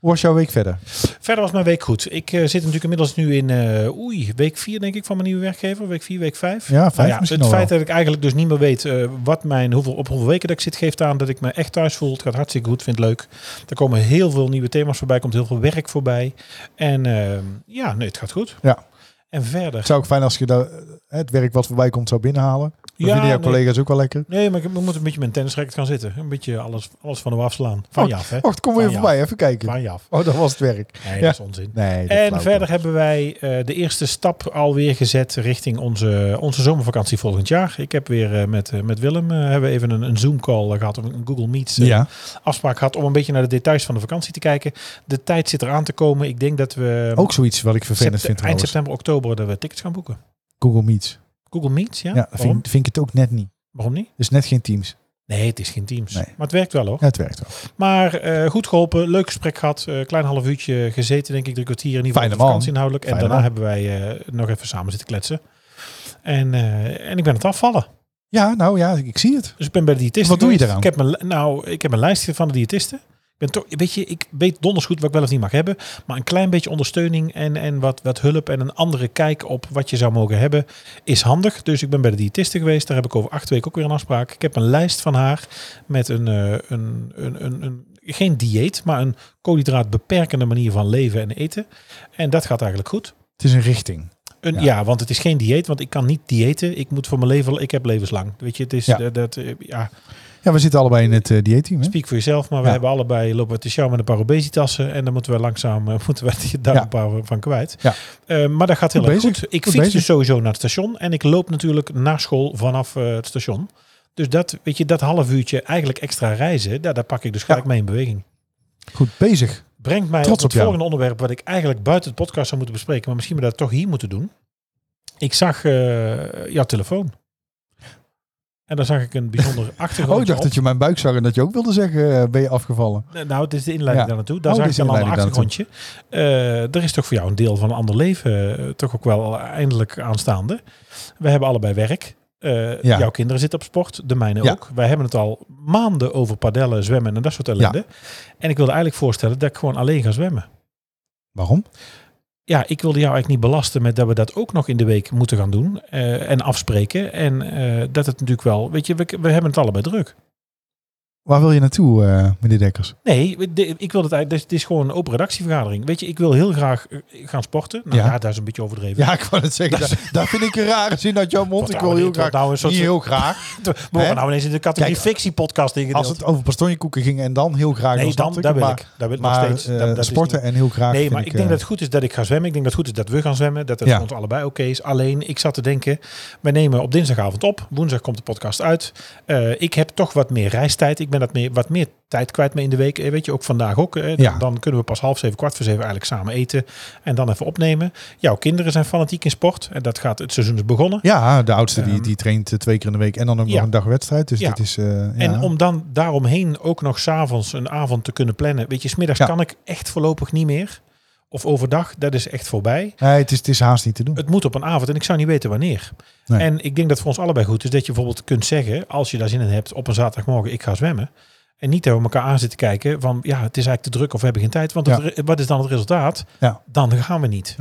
[SPEAKER 2] Hoe was jouw week verder?
[SPEAKER 1] Verder was mijn week goed. Ik eh, zit natuurlijk inmiddels nu in eh, oei, week 4 denk ik van mijn nieuwe werkgever. Week 4, week 5.
[SPEAKER 2] Ja, vijf misschien
[SPEAKER 1] Het
[SPEAKER 2] al
[SPEAKER 1] feit dat ik eigenlijk dus niet meer weet eh, wat mijn, hoeveel, op hoeveel weken dat ik zit geeft aan dat ik me echt thuis voel. Het gaat hartstikke goed, vind het leuk. Er komen heel veel nieuwe thema's voorbij, komt heel veel werk voorbij. En eh, ja, nee, het gaat goed.
[SPEAKER 2] Ja.
[SPEAKER 1] En verder.
[SPEAKER 2] Het zou ook fijn als je daar, eh, het werk wat voorbij komt zou binnenhalen. Dat
[SPEAKER 1] Ja,
[SPEAKER 2] vinden jouw
[SPEAKER 1] nee.
[SPEAKER 2] collega's ook wel lekker.
[SPEAKER 1] Nee, maar ik moet een beetje mijn tennisracket gaan zitten. Een beetje alles, alles van de afslaan. Van
[SPEAKER 2] Oh.
[SPEAKER 1] je af, hè?
[SPEAKER 2] Och, kom weer
[SPEAKER 1] Van je
[SPEAKER 2] voorbij, even kijken.
[SPEAKER 1] Van je af.
[SPEAKER 2] Oh, dat was het werk.
[SPEAKER 1] Nee,
[SPEAKER 2] Ja.
[SPEAKER 1] dat is onzin.
[SPEAKER 2] Nee, dat
[SPEAKER 1] En
[SPEAKER 2] flauw.
[SPEAKER 1] verder hebben wij eh, de eerste stap alweer gezet richting onze, onze zomervakantie volgend jaar. Ik heb weer eh, met, eh, met Willem eh, hebben we even een, een Zoom-call eh, gehad, of een Google Meet eh,
[SPEAKER 2] Ja,
[SPEAKER 1] afspraak gehad om een beetje naar de details van de vakantie te kijken. De tijd zit eraan te komen. Ik denk dat we
[SPEAKER 2] ook zoiets wat ik vervelend
[SPEAKER 1] septe-
[SPEAKER 2] vind
[SPEAKER 1] eh, eind
[SPEAKER 2] trouwens.
[SPEAKER 1] september, oktober dat we tickets gaan boeken.
[SPEAKER 2] Google Meets.
[SPEAKER 1] Google Meet, ja?
[SPEAKER 2] Ja,
[SPEAKER 1] Waarom?
[SPEAKER 2] vind, vind ik het ook net niet.
[SPEAKER 1] Waarom niet?
[SPEAKER 2] Dus net geen Teams.
[SPEAKER 1] Nee, het is geen Teams.
[SPEAKER 2] Nee.
[SPEAKER 1] Maar het werkt wel hoor.
[SPEAKER 2] Ja, het werkt wel.
[SPEAKER 1] Maar eh, goed geholpen, leuk gesprek gehad. eh, klein half uurtje gezeten, denk ik, drie kwartier. In ieder geval
[SPEAKER 2] Fijne
[SPEAKER 1] op
[SPEAKER 2] man.
[SPEAKER 1] vakantie inhoudelijk. En
[SPEAKER 2] Fijne
[SPEAKER 1] daarna
[SPEAKER 2] man.
[SPEAKER 1] hebben wij eh, nog even samen zitten kletsen. En, eh, en ik ben aan het afvallen.
[SPEAKER 2] Ja, nou ja, ik zie het.
[SPEAKER 1] Dus ik ben bij de diëtist.
[SPEAKER 2] Wat doe je eraan?
[SPEAKER 1] Ik heb mijn, li- nou, ik heb mijn lijstje van de diëtisten. Ik ben toch, weet je, ik weet donders goed wat ik wel of niet mag hebben. Maar een klein beetje ondersteuning en, en wat, wat hulp en een andere kijk op wat je zou mogen hebben is handig. Dus ik ben bij de diëtiste geweest. Daar heb ik over acht weken ook weer een afspraak. Ik heb een lijst van haar met een, eh, een, een, een, een geen dieet, maar een koolhydraatbeperkende manier van leven en eten. En dat gaat eigenlijk goed.
[SPEAKER 2] Het is een richting.
[SPEAKER 1] Een, ja.
[SPEAKER 2] Ja.
[SPEAKER 1] want het is geen dieet, want ik kan niet diëten. Ik moet voor mijn leven, ik heb levenslang. Weet je, het is
[SPEAKER 2] Ja.
[SPEAKER 1] dat, dat eh, ja,
[SPEAKER 2] Ja, we zitten allebei in het eh, dieetteam. Hè?
[SPEAKER 1] Speak voor jezelf, maar we
[SPEAKER 2] Ja.
[SPEAKER 1] hebben allebei lopen we te sjouwen met een paar obesitassen. En dan moeten we langzaam eh, moeten we die- daar
[SPEAKER 2] Ja.
[SPEAKER 1] een paar van kwijt.
[SPEAKER 2] Ja.
[SPEAKER 1] Eh, maar dat gaat heel
[SPEAKER 2] Goed
[SPEAKER 1] erg goed.
[SPEAKER 2] bezig.
[SPEAKER 1] Ik
[SPEAKER 2] Goed
[SPEAKER 1] fiets
[SPEAKER 2] bezig.
[SPEAKER 1] dus sowieso naar het station. En ik loop natuurlijk naar school vanaf eh, het station. Dus dat, weet je, dat half uurtje eigenlijk extra reizen, daar, daar pak ik dus gelijk mee in beweging.
[SPEAKER 2] Goed bezig.
[SPEAKER 1] Brengt mij
[SPEAKER 2] Trots
[SPEAKER 1] op het
[SPEAKER 2] op jou.
[SPEAKER 1] volgende onderwerp wat ik eigenlijk buiten het podcast zou moeten bespreken. Maar misschien we dat toch hier moeten doen. Ik zag eh, jouw telefoon. En daar zag ik een bijzonder achtergrond
[SPEAKER 2] Oh, ik dacht dat je mijn buik zag en dat je ook wilde zeggen, eh, ben je afgevallen?
[SPEAKER 1] Nee, Nou, het is de inleiding
[SPEAKER 2] Ja.
[SPEAKER 1] daar naartoe. Daar
[SPEAKER 2] Oh,
[SPEAKER 1] zag
[SPEAKER 2] dit
[SPEAKER 1] ik
[SPEAKER 2] is
[SPEAKER 1] een
[SPEAKER 2] de
[SPEAKER 1] ander
[SPEAKER 2] inleiding
[SPEAKER 1] achtergrondje. Eh, er is toch voor jou een deel van een ander leven eh, toch ook wel eindelijk aanstaande. We hebben allebei werk. Eh,
[SPEAKER 2] Ja.
[SPEAKER 1] Jouw kinderen zitten op sport, de mijne
[SPEAKER 2] Ja.
[SPEAKER 1] ook. Wij hebben het al maanden over padellen, zwemmen en dat soort ellende. En ik wilde eigenlijk voorstellen dat ik gewoon alleen ga zwemmen.
[SPEAKER 2] Waarom?
[SPEAKER 1] Ja, ik wilde jou eigenlijk niet belasten met dat we dat ook nog in de week moeten gaan doen eh, en afspreken. En eh, dat het natuurlijk wel, weet je, we, we hebben het allebei druk.
[SPEAKER 2] Waar wil je naartoe, eh, meneer Dekkers?
[SPEAKER 1] Nee, we- de- ik wil het eigenlijk. dus Het is gewoon een open redactievergadering. Weet je, ik wil heel graag eh, gaan sporten. Nou ja,
[SPEAKER 2] Ja.
[SPEAKER 1] daar is een beetje overdreven.
[SPEAKER 2] Ja, ik wou het zeggen. daar, daar vind ik een rare zin uit jouw mond.
[SPEAKER 1] Wordt
[SPEAKER 2] Ik
[SPEAKER 1] nou
[SPEAKER 2] wil heel
[SPEAKER 1] niet- wordt
[SPEAKER 2] graag.
[SPEAKER 1] nou een soort-
[SPEAKER 2] Niet heel graag.
[SPEAKER 1] We worden nou ineens in de categorie
[SPEAKER 2] Kijk,
[SPEAKER 1] fictiepodcast ingedeeld.
[SPEAKER 2] Als het over pastonjekoeken ging en dan heel graag.
[SPEAKER 1] nee, dan,
[SPEAKER 2] snapte ik
[SPEAKER 1] daar
[SPEAKER 2] het,
[SPEAKER 1] wil
[SPEAKER 2] maar-
[SPEAKER 1] ik. Daar wil ik nog
[SPEAKER 2] Maar
[SPEAKER 1] steeds.
[SPEAKER 2] eh,
[SPEAKER 1] dat, dat is
[SPEAKER 2] sporten
[SPEAKER 1] niet-
[SPEAKER 2] en heel graag.
[SPEAKER 1] Nee,
[SPEAKER 2] vind
[SPEAKER 1] maar ik, denk
[SPEAKER 2] eh,
[SPEAKER 1] dat het goed is dat ik ga zwemmen. Ik denk dat het goed is dat we gaan zwemmen. Dat het
[SPEAKER 2] Ja.
[SPEAKER 1] voor ons allebei oké is. Alleen, ik zat te denken, wij nemen op dinsdagavond op. Woensdag komt de podcast uit. Eh, ik heb toch wat meer reistijd. Ik ben dat meer, wat meer tijd kwijt mee in de week. Eh, weet je, ook vandaag ook. eh, dan,
[SPEAKER 2] Ja.
[SPEAKER 1] dan kunnen we pas half zeven, kwart voor zeven eigenlijk samen eten. En dan even opnemen. Jouw kinderen zijn fanatiek in sport. En dat gaat, het seizoen is begonnen.
[SPEAKER 2] Ja, de oudste die,
[SPEAKER 1] Ehm,
[SPEAKER 2] die traint eh, twee keer in de week en dan ook
[SPEAKER 1] ja.
[SPEAKER 2] nog een dag wedstrijd. Dus
[SPEAKER 1] Ja.
[SPEAKER 2] dit is. eh, ja.
[SPEAKER 1] En om dan daaromheen ook nog s'avonds een avond te kunnen plannen. Weet je, smiddags
[SPEAKER 2] Ja.
[SPEAKER 1] kan ik echt voorlopig niet meer. Of overdag, dat is echt voorbij.
[SPEAKER 2] Nee, het is, het is haast niet te doen.
[SPEAKER 1] Het moet op een avond en ik zou niet weten wanneer.
[SPEAKER 2] Nee.
[SPEAKER 1] En ik denk dat voor ons allebei goed is dat je bijvoorbeeld kunt zeggen, als je daar zin in hebt, op een zaterdagmorgen ik ga zwemmen. En niet dat we elkaar aan zitten kijken van ja, het is eigenlijk te druk of we hebben geen tijd. Want het
[SPEAKER 2] Ja.
[SPEAKER 1] re- wat is dan het resultaat?
[SPEAKER 2] Ja.
[SPEAKER 1] Dan gaan we niet.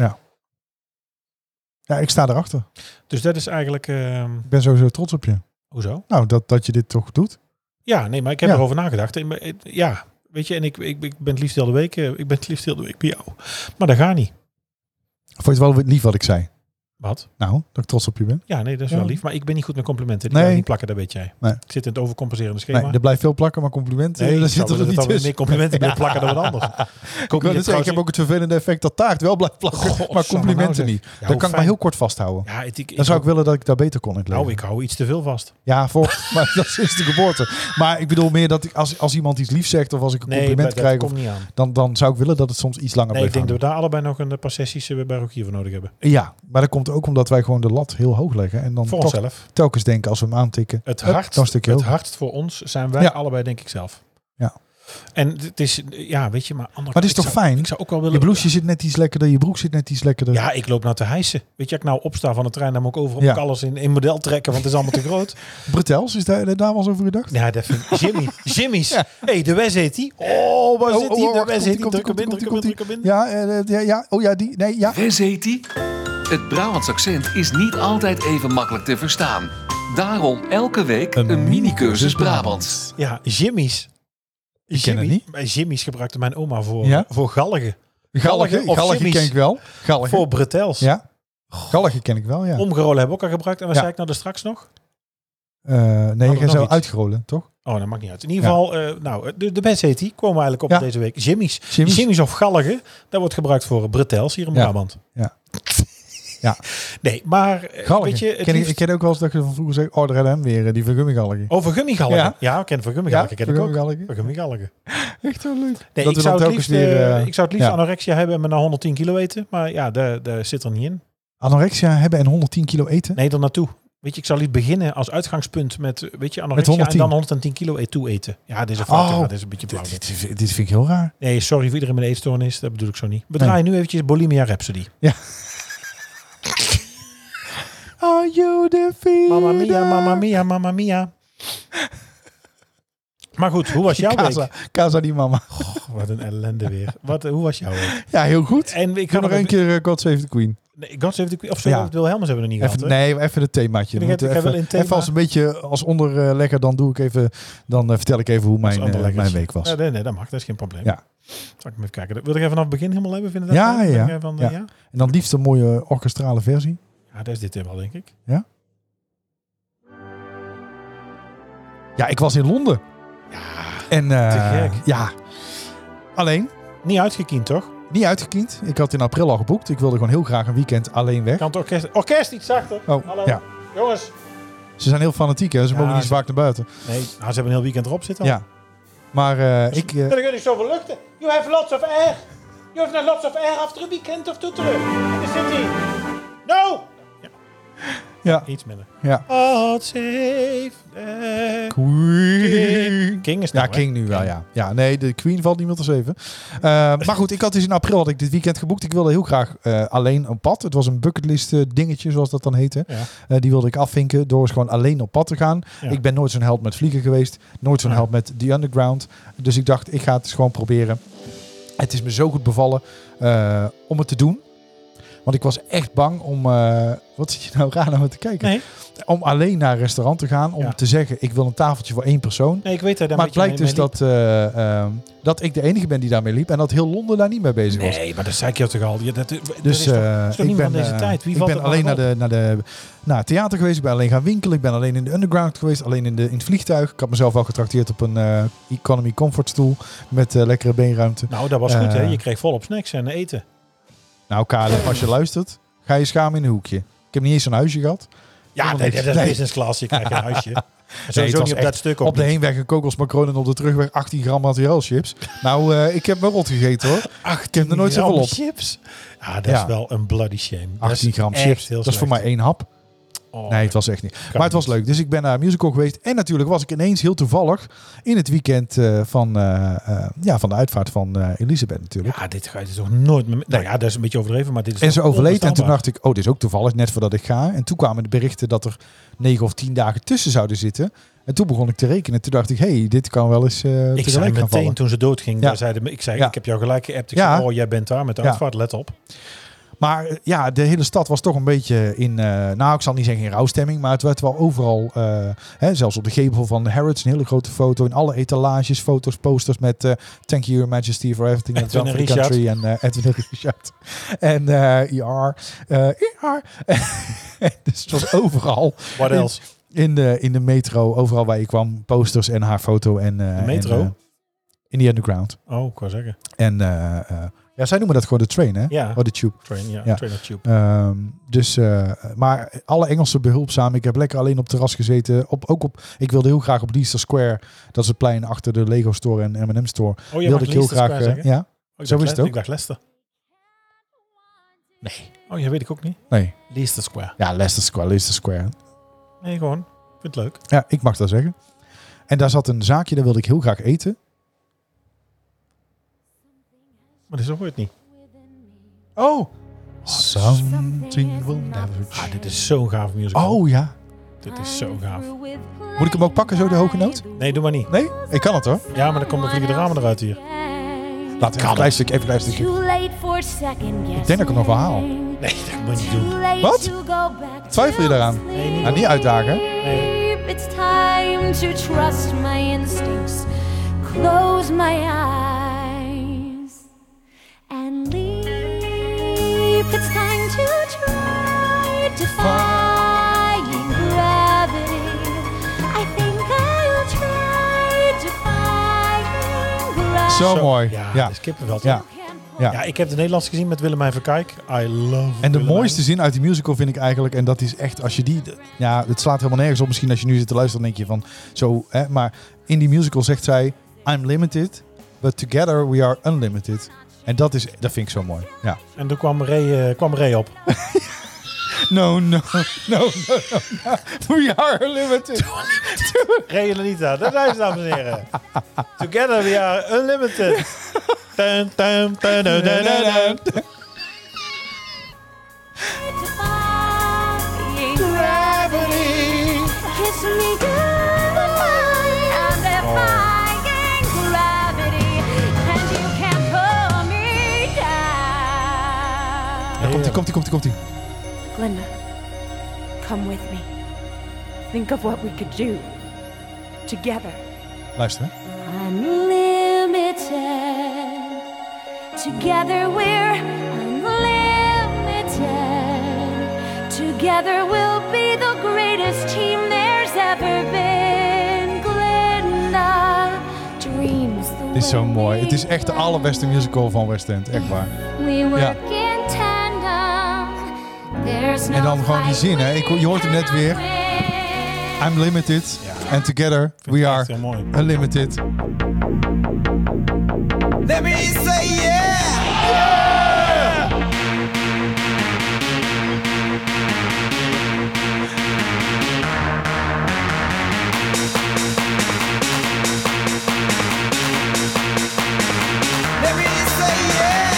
[SPEAKER 2] Ja, ik sta erachter.
[SPEAKER 1] Dus dat is eigenlijk. ehm,
[SPEAKER 2] Ik ben sowieso trots op je.
[SPEAKER 1] hoezo?
[SPEAKER 2] Nou, dat, dat je dit toch doet.
[SPEAKER 1] Ja, nee, maar ik heb
[SPEAKER 2] Ja.
[SPEAKER 1] erover nagedacht. En, eh, Ja, weet je, en ik, ik, ik ben het liefst heel de week. eh, Ik ben het liefst heel de week bij jou. Maar dat gaat niet.
[SPEAKER 2] Vond je het wel lief wat ik zei?
[SPEAKER 1] Wat?
[SPEAKER 2] Nou, dat ik trots op je ben.
[SPEAKER 1] Ja, nee, dat is
[SPEAKER 2] Ja.
[SPEAKER 1] wel lief. Maar ik ben niet goed met complimenten. Die
[SPEAKER 2] Nee.
[SPEAKER 1] kan ik niet plakken, dat weet jij.
[SPEAKER 2] Nee.
[SPEAKER 1] Ik zit in het overcompenserende schema.
[SPEAKER 2] Nee, er blijft veel plakken, maar complimenten.
[SPEAKER 1] Nee,
[SPEAKER 2] Nee,
[SPEAKER 1] ik
[SPEAKER 2] daar
[SPEAKER 1] zou
[SPEAKER 2] zit er
[SPEAKER 1] willen
[SPEAKER 2] niet
[SPEAKER 1] dat er
[SPEAKER 2] tussen.
[SPEAKER 1] meer complimenten bij plakken dan wat anders. Ik,
[SPEAKER 2] Ik, wou net zeggen, ik heb ook het vervelende effect dat taart wel blijft plakken,
[SPEAKER 1] Goh,
[SPEAKER 2] maar
[SPEAKER 1] Sanne, nou
[SPEAKER 2] complimenten
[SPEAKER 1] zeg.
[SPEAKER 2] niet.
[SPEAKER 1] Ja,
[SPEAKER 2] dat
[SPEAKER 1] hoe
[SPEAKER 2] kan ik maar
[SPEAKER 1] fijn.
[SPEAKER 2] heel kort vasthouden.
[SPEAKER 1] Ja, het, ik, ik,
[SPEAKER 2] Dan zou ik willen dat ik daar beter kon in het
[SPEAKER 1] Nou, ik
[SPEAKER 2] leven.
[SPEAKER 1] hou iets te veel vast.
[SPEAKER 2] Ja, voor, maar dat is sinds de geboorte. Maar ik bedoel meer dat ik, als, als iemand iets lief zegt of als ik een
[SPEAKER 1] Nee,
[SPEAKER 2] compliment
[SPEAKER 1] dat, dat
[SPEAKER 2] krijg,
[SPEAKER 1] komt
[SPEAKER 2] of- Nou,
[SPEAKER 1] niet aan.
[SPEAKER 2] dan, dan zou ik willen dat het soms iets langer
[SPEAKER 1] Nee, ik
[SPEAKER 2] blijft
[SPEAKER 1] denk dat
[SPEAKER 2] hangen.
[SPEAKER 1] we daar allebei nog een eh, paar sessies eh, bij Rogier voor nodig hebben.
[SPEAKER 2] Ja, maar dat komt ook omdat wij gewoon de lat heel hoog leggen. En dan
[SPEAKER 1] Voor
[SPEAKER 2] toch
[SPEAKER 1] onszelf.
[SPEAKER 2] telkens denken als we hem aantikken.
[SPEAKER 1] Het
[SPEAKER 2] hup,
[SPEAKER 1] hardst,
[SPEAKER 2] dan een stukje
[SPEAKER 1] het
[SPEAKER 2] hoger.
[SPEAKER 1] hardst voor ons zijn wij
[SPEAKER 2] Ja.
[SPEAKER 1] allebei, denk ik zelf.
[SPEAKER 2] Ja.
[SPEAKER 1] En het is, ja, weet je, maar anders.
[SPEAKER 2] Maar het is toch fijn?
[SPEAKER 1] Ik zou ook wel willen.
[SPEAKER 2] Je bloesje zit net iets lekkerder, je broek zit net iets lekkerder.
[SPEAKER 1] Ja, ik loop nou te hijsen. Weet je, ik nou opsta van de trein, dan moet ik overal
[SPEAKER 2] Ja.
[SPEAKER 1] ook alles in, in model trekken, want het is allemaal te groot.
[SPEAKER 2] Bretels, is daar, daar wel eens over gedacht?
[SPEAKER 1] Ja, dat vind ik. Jimmy. Jimmy's.
[SPEAKER 2] Ja.
[SPEAKER 1] hey, de Wes heet die. Oh, waar
[SPEAKER 2] Oh,
[SPEAKER 1] zit
[SPEAKER 2] oh,
[SPEAKER 1] die?
[SPEAKER 2] oh,
[SPEAKER 1] De
[SPEAKER 2] wacht,
[SPEAKER 1] Wes
[SPEAKER 2] komt-ie,
[SPEAKER 1] heet die.
[SPEAKER 2] komt-ie,
[SPEAKER 1] Druk hem in,
[SPEAKER 2] komt-ie,
[SPEAKER 1] druk hem in, druk hem in.
[SPEAKER 2] Ja, eh, eh, ja, ja, oh ja, die, nee, ja.
[SPEAKER 3] Wes heet die? Het Brabants accent is niet altijd even makkelijk te verstaan. Daarom elke week een, mini-cursus Brabants.
[SPEAKER 1] Ja, Jimmy's. Ik
[SPEAKER 2] ken het niet.
[SPEAKER 1] Jimmy's gebruikte mijn oma voor,
[SPEAKER 2] Ja?
[SPEAKER 1] voor galgen. Galgen
[SPEAKER 2] Gallige,
[SPEAKER 1] of
[SPEAKER 2] Gallige
[SPEAKER 1] Jimmy's?
[SPEAKER 2] ken ik wel. Gallige.
[SPEAKER 1] Voor bretels.
[SPEAKER 2] Ja. Gallige ken ik wel, ja.
[SPEAKER 1] Omgerollen hebben we ook al gebruikt. En wat
[SPEAKER 2] Ja.
[SPEAKER 1] zei ik nou er straks nog?
[SPEAKER 2] Eh, nee,
[SPEAKER 1] Oh, nog
[SPEAKER 2] jij zou
[SPEAKER 1] iets?
[SPEAKER 2] uitgerollen, toch?
[SPEAKER 1] Oh, dat maakt niet uit. In ieder
[SPEAKER 2] Ja.
[SPEAKER 1] geval, eh, nou, de, de best heet die. Komen we eigenlijk op
[SPEAKER 2] Ja.
[SPEAKER 1] deze week. Jimmy's.
[SPEAKER 2] Jimmy's.
[SPEAKER 1] Jimmy's. of galgen. Dat wordt gebruikt voor bretels hier in
[SPEAKER 2] Ja.
[SPEAKER 1] Brabant.
[SPEAKER 2] Ja. Ja.
[SPEAKER 1] Nee, maar eh,
[SPEAKER 2] Gallige.
[SPEAKER 1] weet je, het
[SPEAKER 2] ken ik,
[SPEAKER 1] liefst-
[SPEAKER 2] ik ken ook wel eens dat je van vroeger zegt, oh, daar hebben we hem weer, eh, die vergumminggallige.
[SPEAKER 1] Oh, vergummigalgen. Ja,
[SPEAKER 2] Ja.
[SPEAKER 1] ja ik ken vergummigalgen. ken ik ook.
[SPEAKER 2] vergumminggallige.
[SPEAKER 1] Vergummigalgen.
[SPEAKER 2] Echt zo leuk.
[SPEAKER 1] Nee,
[SPEAKER 2] Dat
[SPEAKER 1] ik,
[SPEAKER 2] we dan
[SPEAKER 1] zou het
[SPEAKER 2] telkens
[SPEAKER 1] liefst, eh,
[SPEAKER 2] weer, eh,
[SPEAKER 1] ik zou het liefst
[SPEAKER 2] ja.
[SPEAKER 1] anorexia hebben en me naar 110 kilo eten. Maar ja, daar daar zit er niet in.
[SPEAKER 2] Anorexia hebben en 110 kilo eten?
[SPEAKER 1] Nee, dan naartoe. Weet je, ik zal niet beginnen als uitgangspunt met, eh, weet je, anorexia
[SPEAKER 2] 110.
[SPEAKER 1] en dan 110 kilo e- toe eten. Ja, dit is een fout. ja,
[SPEAKER 2] Oh.
[SPEAKER 1] dit Nou, is een beetje blauw.
[SPEAKER 2] Dit, dit- dit vind ik heel raar.
[SPEAKER 1] Nee, sorry voor iedereen met een eetstoornis. Dat bedoel ik zo niet. We draaien nu eventjes Bulimia Rhapsody.
[SPEAKER 2] Are you the
[SPEAKER 1] Mamma mia, mamma mia, mamma mia. Maar goed, hoe was jouw
[SPEAKER 2] Casa,
[SPEAKER 1] week?
[SPEAKER 2] casa die mama.
[SPEAKER 1] Oh, Wat een ellende weer. Wat, hoe was jouw week?
[SPEAKER 2] Ja, heel goed.
[SPEAKER 1] En ik
[SPEAKER 2] Ik ga
[SPEAKER 1] ga
[SPEAKER 2] nog één keer eh, God Save the Queen.
[SPEAKER 1] Nee, God Save the Queen. Of zo,
[SPEAKER 2] Ja.
[SPEAKER 1] Wilhelmus hebben we nog niet
[SPEAKER 2] Even,
[SPEAKER 1] gehad. hè?
[SPEAKER 2] nee, even het themaatje.
[SPEAKER 1] Ik
[SPEAKER 2] We
[SPEAKER 1] heb-
[SPEAKER 2] moeten
[SPEAKER 1] ik heb
[SPEAKER 2] even,
[SPEAKER 1] wel een thema.
[SPEAKER 2] even als een beetje als onderlegger, dan doe ik even, dan eh, vertel ik even hoe mijn, eh,
[SPEAKER 1] anderleggers.
[SPEAKER 2] mijn week was.
[SPEAKER 1] Ja, nee, nee, dat mag. Dat is geen probleem.
[SPEAKER 2] Ja.
[SPEAKER 1] Zal ik hem even kijken. Wil ik even vanaf het begin helemaal hebben? Vind je dat
[SPEAKER 2] Ja,
[SPEAKER 1] fijn?
[SPEAKER 2] ja,
[SPEAKER 1] Ben jij Van, eh,
[SPEAKER 2] ja.
[SPEAKER 1] ja?
[SPEAKER 2] En dan liefst een mooie orkestrale versie.
[SPEAKER 1] Ja, dat is dit wel, denk ik.
[SPEAKER 2] Ja, ik was in Londen. En eh,
[SPEAKER 1] te gek.
[SPEAKER 2] ja, alleen
[SPEAKER 1] Niet uitgekiend, toch?
[SPEAKER 2] niet uitgekiend. Ik had in april al geboekt. Ik wilde gewoon heel graag een weekend alleen weg.
[SPEAKER 1] Kan het orkest... Orkest, iets zachter.
[SPEAKER 2] Oh,
[SPEAKER 1] Hallo.
[SPEAKER 2] ja.
[SPEAKER 1] Jongens.
[SPEAKER 2] Ze zijn heel fanatiek, hè? Ze
[SPEAKER 1] Ja,
[SPEAKER 2] mogen niet
[SPEAKER 1] ze-
[SPEAKER 2] zo vaak naar buiten.
[SPEAKER 1] Nee, nou, ze hebben een heel weekend erop zitten.
[SPEAKER 2] Ja. Maar eh, ik, eh,
[SPEAKER 1] Dan kun je zoveel luchten. You have lots of air. You have lots of air after a weekend of toeteren. In the city. No!
[SPEAKER 2] ja,
[SPEAKER 1] Iets minder.
[SPEAKER 2] ja.
[SPEAKER 1] God save the
[SPEAKER 2] Queen.
[SPEAKER 1] King is
[SPEAKER 2] Ja,
[SPEAKER 1] nou, hè?
[SPEAKER 2] King nu wel, ja. Ja, nee, de Queen valt niet meer te zeven. Eh, maar goed, ik had dus in april had ik dit weekend geboekt. Ik wilde heel graag eh, alleen op pad. Het was een bucketlist eh, dingetje, zoals dat dan heette.
[SPEAKER 1] Ja.
[SPEAKER 2] Eh, die wilde ik afvinken door eens gewoon alleen op pad te gaan.
[SPEAKER 1] Ja.
[SPEAKER 2] Ik ben nooit zo'n held met vliegen geweest. Nooit zo'n
[SPEAKER 1] Ja.
[SPEAKER 2] held met The Underground. Dus ik dacht, ik ga het eens gewoon proberen. Het is me zo goed bevallen eh, om het te doen. Want ik was echt bang om... eh, wat zit je nou raar naar me te kijken?
[SPEAKER 1] Nee.
[SPEAKER 2] Om alleen naar een restaurant te gaan. Om
[SPEAKER 1] Ja.
[SPEAKER 2] te zeggen, ik wil een tafeltje voor één persoon.
[SPEAKER 1] Nee, ik weet dat daar
[SPEAKER 2] Maar
[SPEAKER 1] een
[SPEAKER 2] het
[SPEAKER 1] beetje
[SPEAKER 2] blijkt dus
[SPEAKER 1] mee- mee
[SPEAKER 2] dat, eh, ehm, dat ik de enige ben die daarmee liep. En dat heel Londen daar niet mee bezig was.
[SPEAKER 1] Nee, maar dat zei ik je toch al. Ja, dat, dat
[SPEAKER 2] Dus
[SPEAKER 1] is toch-
[SPEAKER 2] eh,
[SPEAKER 1] is toch
[SPEAKER 2] ik
[SPEAKER 1] niemand
[SPEAKER 2] ben,
[SPEAKER 1] van deze
[SPEAKER 2] eh,
[SPEAKER 1] tijd? Wie
[SPEAKER 2] ik
[SPEAKER 1] valt
[SPEAKER 2] ben
[SPEAKER 1] er nou
[SPEAKER 2] alleen naar
[SPEAKER 1] op?
[SPEAKER 2] de, naar, de, naar het theater geweest. Ik ben alleen gaan winkelen. Ik ben alleen in de underground geweest. Alleen in, de, in het vliegtuig. Ik had mezelf al getrakteerd op een eh, economy comfort stoel. Met eh, lekkere beenruimte.
[SPEAKER 1] Nou, dat was goed, hè?
[SPEAKER 2] Eh.
[SPEAKER 1] Je kreeg volop snacks en eten.
[SPEAKER 2] Nou Kalef, als je luistert, ga je schamen in een hoekje. Ik heb niet eens een huisje gehad.
[SPEAKER 1] Ja,
[SPEAKER 2] Helemaal
[SPEAKER 1] nee,
[SPEAKER 2] niks.
[SPEAKER 1] dat is
[SPEAKER 2] Nee.
[SPEAKER 1] business class. Je krijgt een huisje.
[SPEAKER 2] Nee, het
[SPEAKER 1] Sowieso
[SPEAKER 2] was
[SPEAKER 1] niet op
[SPEAKER 2] echt
[SPEAKER 1] dat stuk
[SPEAKER 2] Op
[SPEAKER 1] ook
[SPEAKER 2] de
[SPEAKER 1] niet.
[SPEAKER 2] heenweg een kokosmacroon en op de terugweg 18 gram materiaalchips. Nou, eh, ik heb me rot gegeten hoor. Ik heb er nooit zoveel
[SPEAKER 1] Gram
[SPEAKER 2] op.
[SPEAKER 1] chips? Ja, dat is
[SPEAKER 2] Ja.
[SPEAKER 1] wel een bloody shame. Dat is
[SPEAKER 2] 18 gram
[SPEAKER 1] echt
[SPEAKER 2] chips.
[SPEAKER 1] heel
[SPEAKER 2] Dat is voor mij
[SPEAKER 1] slecht.
[SPEAKER 2] één hap.
[SPEAKER 1] Oh,
[SPEAKER 2] Nee, het was echt niet. Maar het was
[SPEAKER 1] niet.
[SPEAKER 2] leuk. Dus ik ben naar een musical geweest. En natuurlijk was ik ineens heel toevallig in het weekend eh, van, eh, eh, ja, van de uitvaart van eh, Elisabeth natuurlijk.
[SPEAKER 1] Ja, dit ga je toch nooit meer... Nou
[SPEAKER 2] Nee.
[SPEAKER 1] ja, dat is een beetje overdreven, maar dit is
[SPEAKER 2] en ze
[SPEAKER 1] toch
[SPEAKER 2] overleed. En toen
[SPEAKER 1] onbestaanbaar.
[SPEAKER 2] dacht ik, oh, dit is ook toevallig, net voordat ik ga. En toen kwamen de berichten dat er negen of tien dagen tussen zouden zitten. En toen begon ik te rekenen. Toen dacht ik, hey, dit kan wel eens eh
[SPEAKER 1] Ik zei
[SPEAKER 2] tegelijk gaan
[SPEAKER 1] meteen
[SPEAKER 2] vallen.
[SPEAKER 1] toen ze doodging,
[SPEAKER 2] Ja.
[SPEAKER 1] daar zeiden, me- ik zei,
[SPEAKER 2] Ja.
[SPEAKER 1] ik heb jou gelijk geappt. Ik
[SPEAKER 2] Ja.
[SPEAKER 1] zei, oh, jij bent daar met de
[SPEAKER 2] Ja.
[SPEAKER 1] uitvaart, let op.
[SPEAKER 2] Maar eh, ja, de hele stad was toch een beetje in, eh, nou ik zal niet zeggen in rouwstemming, maar het werd wel overal, eh, hè, zelfs op de gevel van Harrods, een hele grote foto, in alle etalages, foto's, posters met eh, Thank you, Your Majesty for everything that's
[SPEAKER 1] Edwin
[SPEAKER 2] done
[SPEAKER 1] en
[SPEAKER 2] for the country en eh, Edwin en Richard. En eh ER. eh, ER. dus het was overal.
[SPEAKER 1] What else?
[SPEAKER 2] In de, in de metro, overal waar je kwam, posters en haar foto. En, eh,
[SPEAKER 1] De metro?
[SPEAKER 2] En, eh, in de underground.
[SPEAKER 1] Oh, ik wou zeggen.
[SPEAKER 2] En eh, eh, ja, zij noemen dat gewoon de train, hè?
[SPEAKER 1] Ja.
[SPEAKER 2] Oh, de tube.
[SPEAKER 1] Train, ja.
[SPEAKER 2] Ja.
[SPEAKER 1] Train of Tube.
[SPEAKER 2] Ehm, dus, eh, maar alle Engelsen behulpzaam. Ik heb lekker alleen op het terras gezeten. Op, ook op, ik wilde heel graag op Leicester Square. Dat is het plein achter de Lego Store en M&M Store.
[SPEAKER 1] Oh, je
[SPEAKER 2] wilde
[SPEAKER 1] wilde
[SPEAKER 2] ik heel graag. eh,
[SPEAKER 1] zeggen?
[SPEAKER 2] ja,
[SPEAKER 1] Oh, ik
[SPEAKER 2] zo
[SPEAKER 1] dacht
[SPEAKER 2] is het
[SPEAKER 1] Le-
[SPEAKER 2] ook.
[SPEAKER 1] Ik dacht Leicester.
[SPEAKER 2] Nee.
[SPEAKER 1] Oh, ja, weet ik ook niet.
[SPEAKER 2] nee.
[SPEAKER 1] Leicester Square.
[SPEAKER 2] Ja, Leicester Square, Leicester Square.
[SPEAKER 1] Nee, gewoon. Ik vind het leuk.
[SPEAKER 2] Ja, ik mag dat zeggen. En daar zat een zaakje, daar wilde ik heel graag eten.
[SPEAKER 1] Maar dit is ook weer het niet.
[SPEAKER 2] Oh!
[SPEAKER 4] Something will never
[SPEAKER 1] Ah, dit is zo'n gaaf musical.
[SPEAKER 2] Oh ja.
[SPEAKER 1] Dit is zo gaaf.
[SPEAKER 4] Moet ik hem ook pakken, zo de hoge noot?
[SPEAKER 1] Nee, doe maar niet.
[SPEAKER 2] Nee, ik kan het hoor.
[SPEAKER 1] Ja, maar dan komt de vliegende ramen eruit hier.
[SPEAKER 2] Laat even een klein stukje, even een klein stukje.
[SPEAKER 4] Ik
[SPEAKER 2] denk dat ik hem nog wel haal.
[SPEAKER 1] Nee, dat moet je niet doen.
[SPEAKER 2] Wat? Twijfel je daaraan?
[SPEAKER 4] Nee,
[SPEAKER 1] niet.
[SPEAKER 2] Nou, niet uitdagen, hè?
[SPEAKER 1] Nee.
[SPEAKER 4] It's time to trust my instincts. Close my eyes. And leap. It's time to try defying gravity. I think I'll try defying gravity.
[SPEAKER 2] Zo mooi.
[SPEAKER 1] Ja,
[SPEAKER 2] Ja.
[SPEAKER 1] dit is kippenvel. toch?
[SPEAKER 2] Ja. Ja.
[SPEAKER 1] Ja, ik heb de Nederlands gezien met Willemijn Verkijk. I love
[SPEAKER 2] En de
[SPEAKER 1] Willemijn.
[SPEAKER 2] mooiste zin uit die musical vind ik eigenlijk, en dat is echt als je die, ja, het slaat helemaal nergens op. Misschien als je nu zit te luisteren, dan denk je van zo, hè, maar in die musical zegt zij: I'm limited, but together we are unlimited. En dat is, dat vind ik zo mooi. Ja.
[SPEAKER 1] En toen kwam Ray, eh, kwam Ray op.
[SPEAKER 2] No, no, no, no, no, no. We are limited.
[SPEAKER 1] Ray en Anita, daar zijn ze, dames en heren. Together we are unlimited. Dun, dun, dun, dun, dun, dun, dun.
[SPEAKER 4] Defying Kiss me goodbye. I'm defying gravity, and you can't pull me down.
[SPEAKER 2] Daar komt ie, komt ie, komt ie, komt ie.
[SPEAKER 4] Glinda, come with me. Think of what we could do together.
[SPEAKER 2] Luister. hè.
[SPEAKER 4] Unlimited. Together we're unlimited. Together we'll be the greatest team there's ever been. Glinda dreams. the
[SPEAKER 2] Dit is zo
[SPEAKER 4] way
[SPEAKER 2] mooi. Het is
[SPEAKER 4] we
[SPEAKER 2] echt de
[SPEAKER 4] can.
[SPEAKER 2] allerbeste musical van West End, echt waar.
[SPEAKER 4] We work
[SPEAKER 2] Ja.
[SPEAKER 4] in tandem. There's no
[SPEAKER 2] En dan gewoon die
[SPEAKER 4] fight
[SPEAKER 2] zin, hè.
[SPEAKER 4] we
[SPEAKER 2] Ik- je hoort hem net
[SPEAKER 4] cannot
[SPEAKER 2] weer.
[SPEAKER 4] win.
[SPEAKER 2] I'm limited, and together
[SPEAKER 1] ik
[SPEAKER 2] we
[SPEAKER 1] echt
[SPEAKER 2] are
[SPEAKER 1] heel mooi.
[SPEAKER 2] unlimited.
[SPEAKER 5] Let me say yeah! Let me say yeah!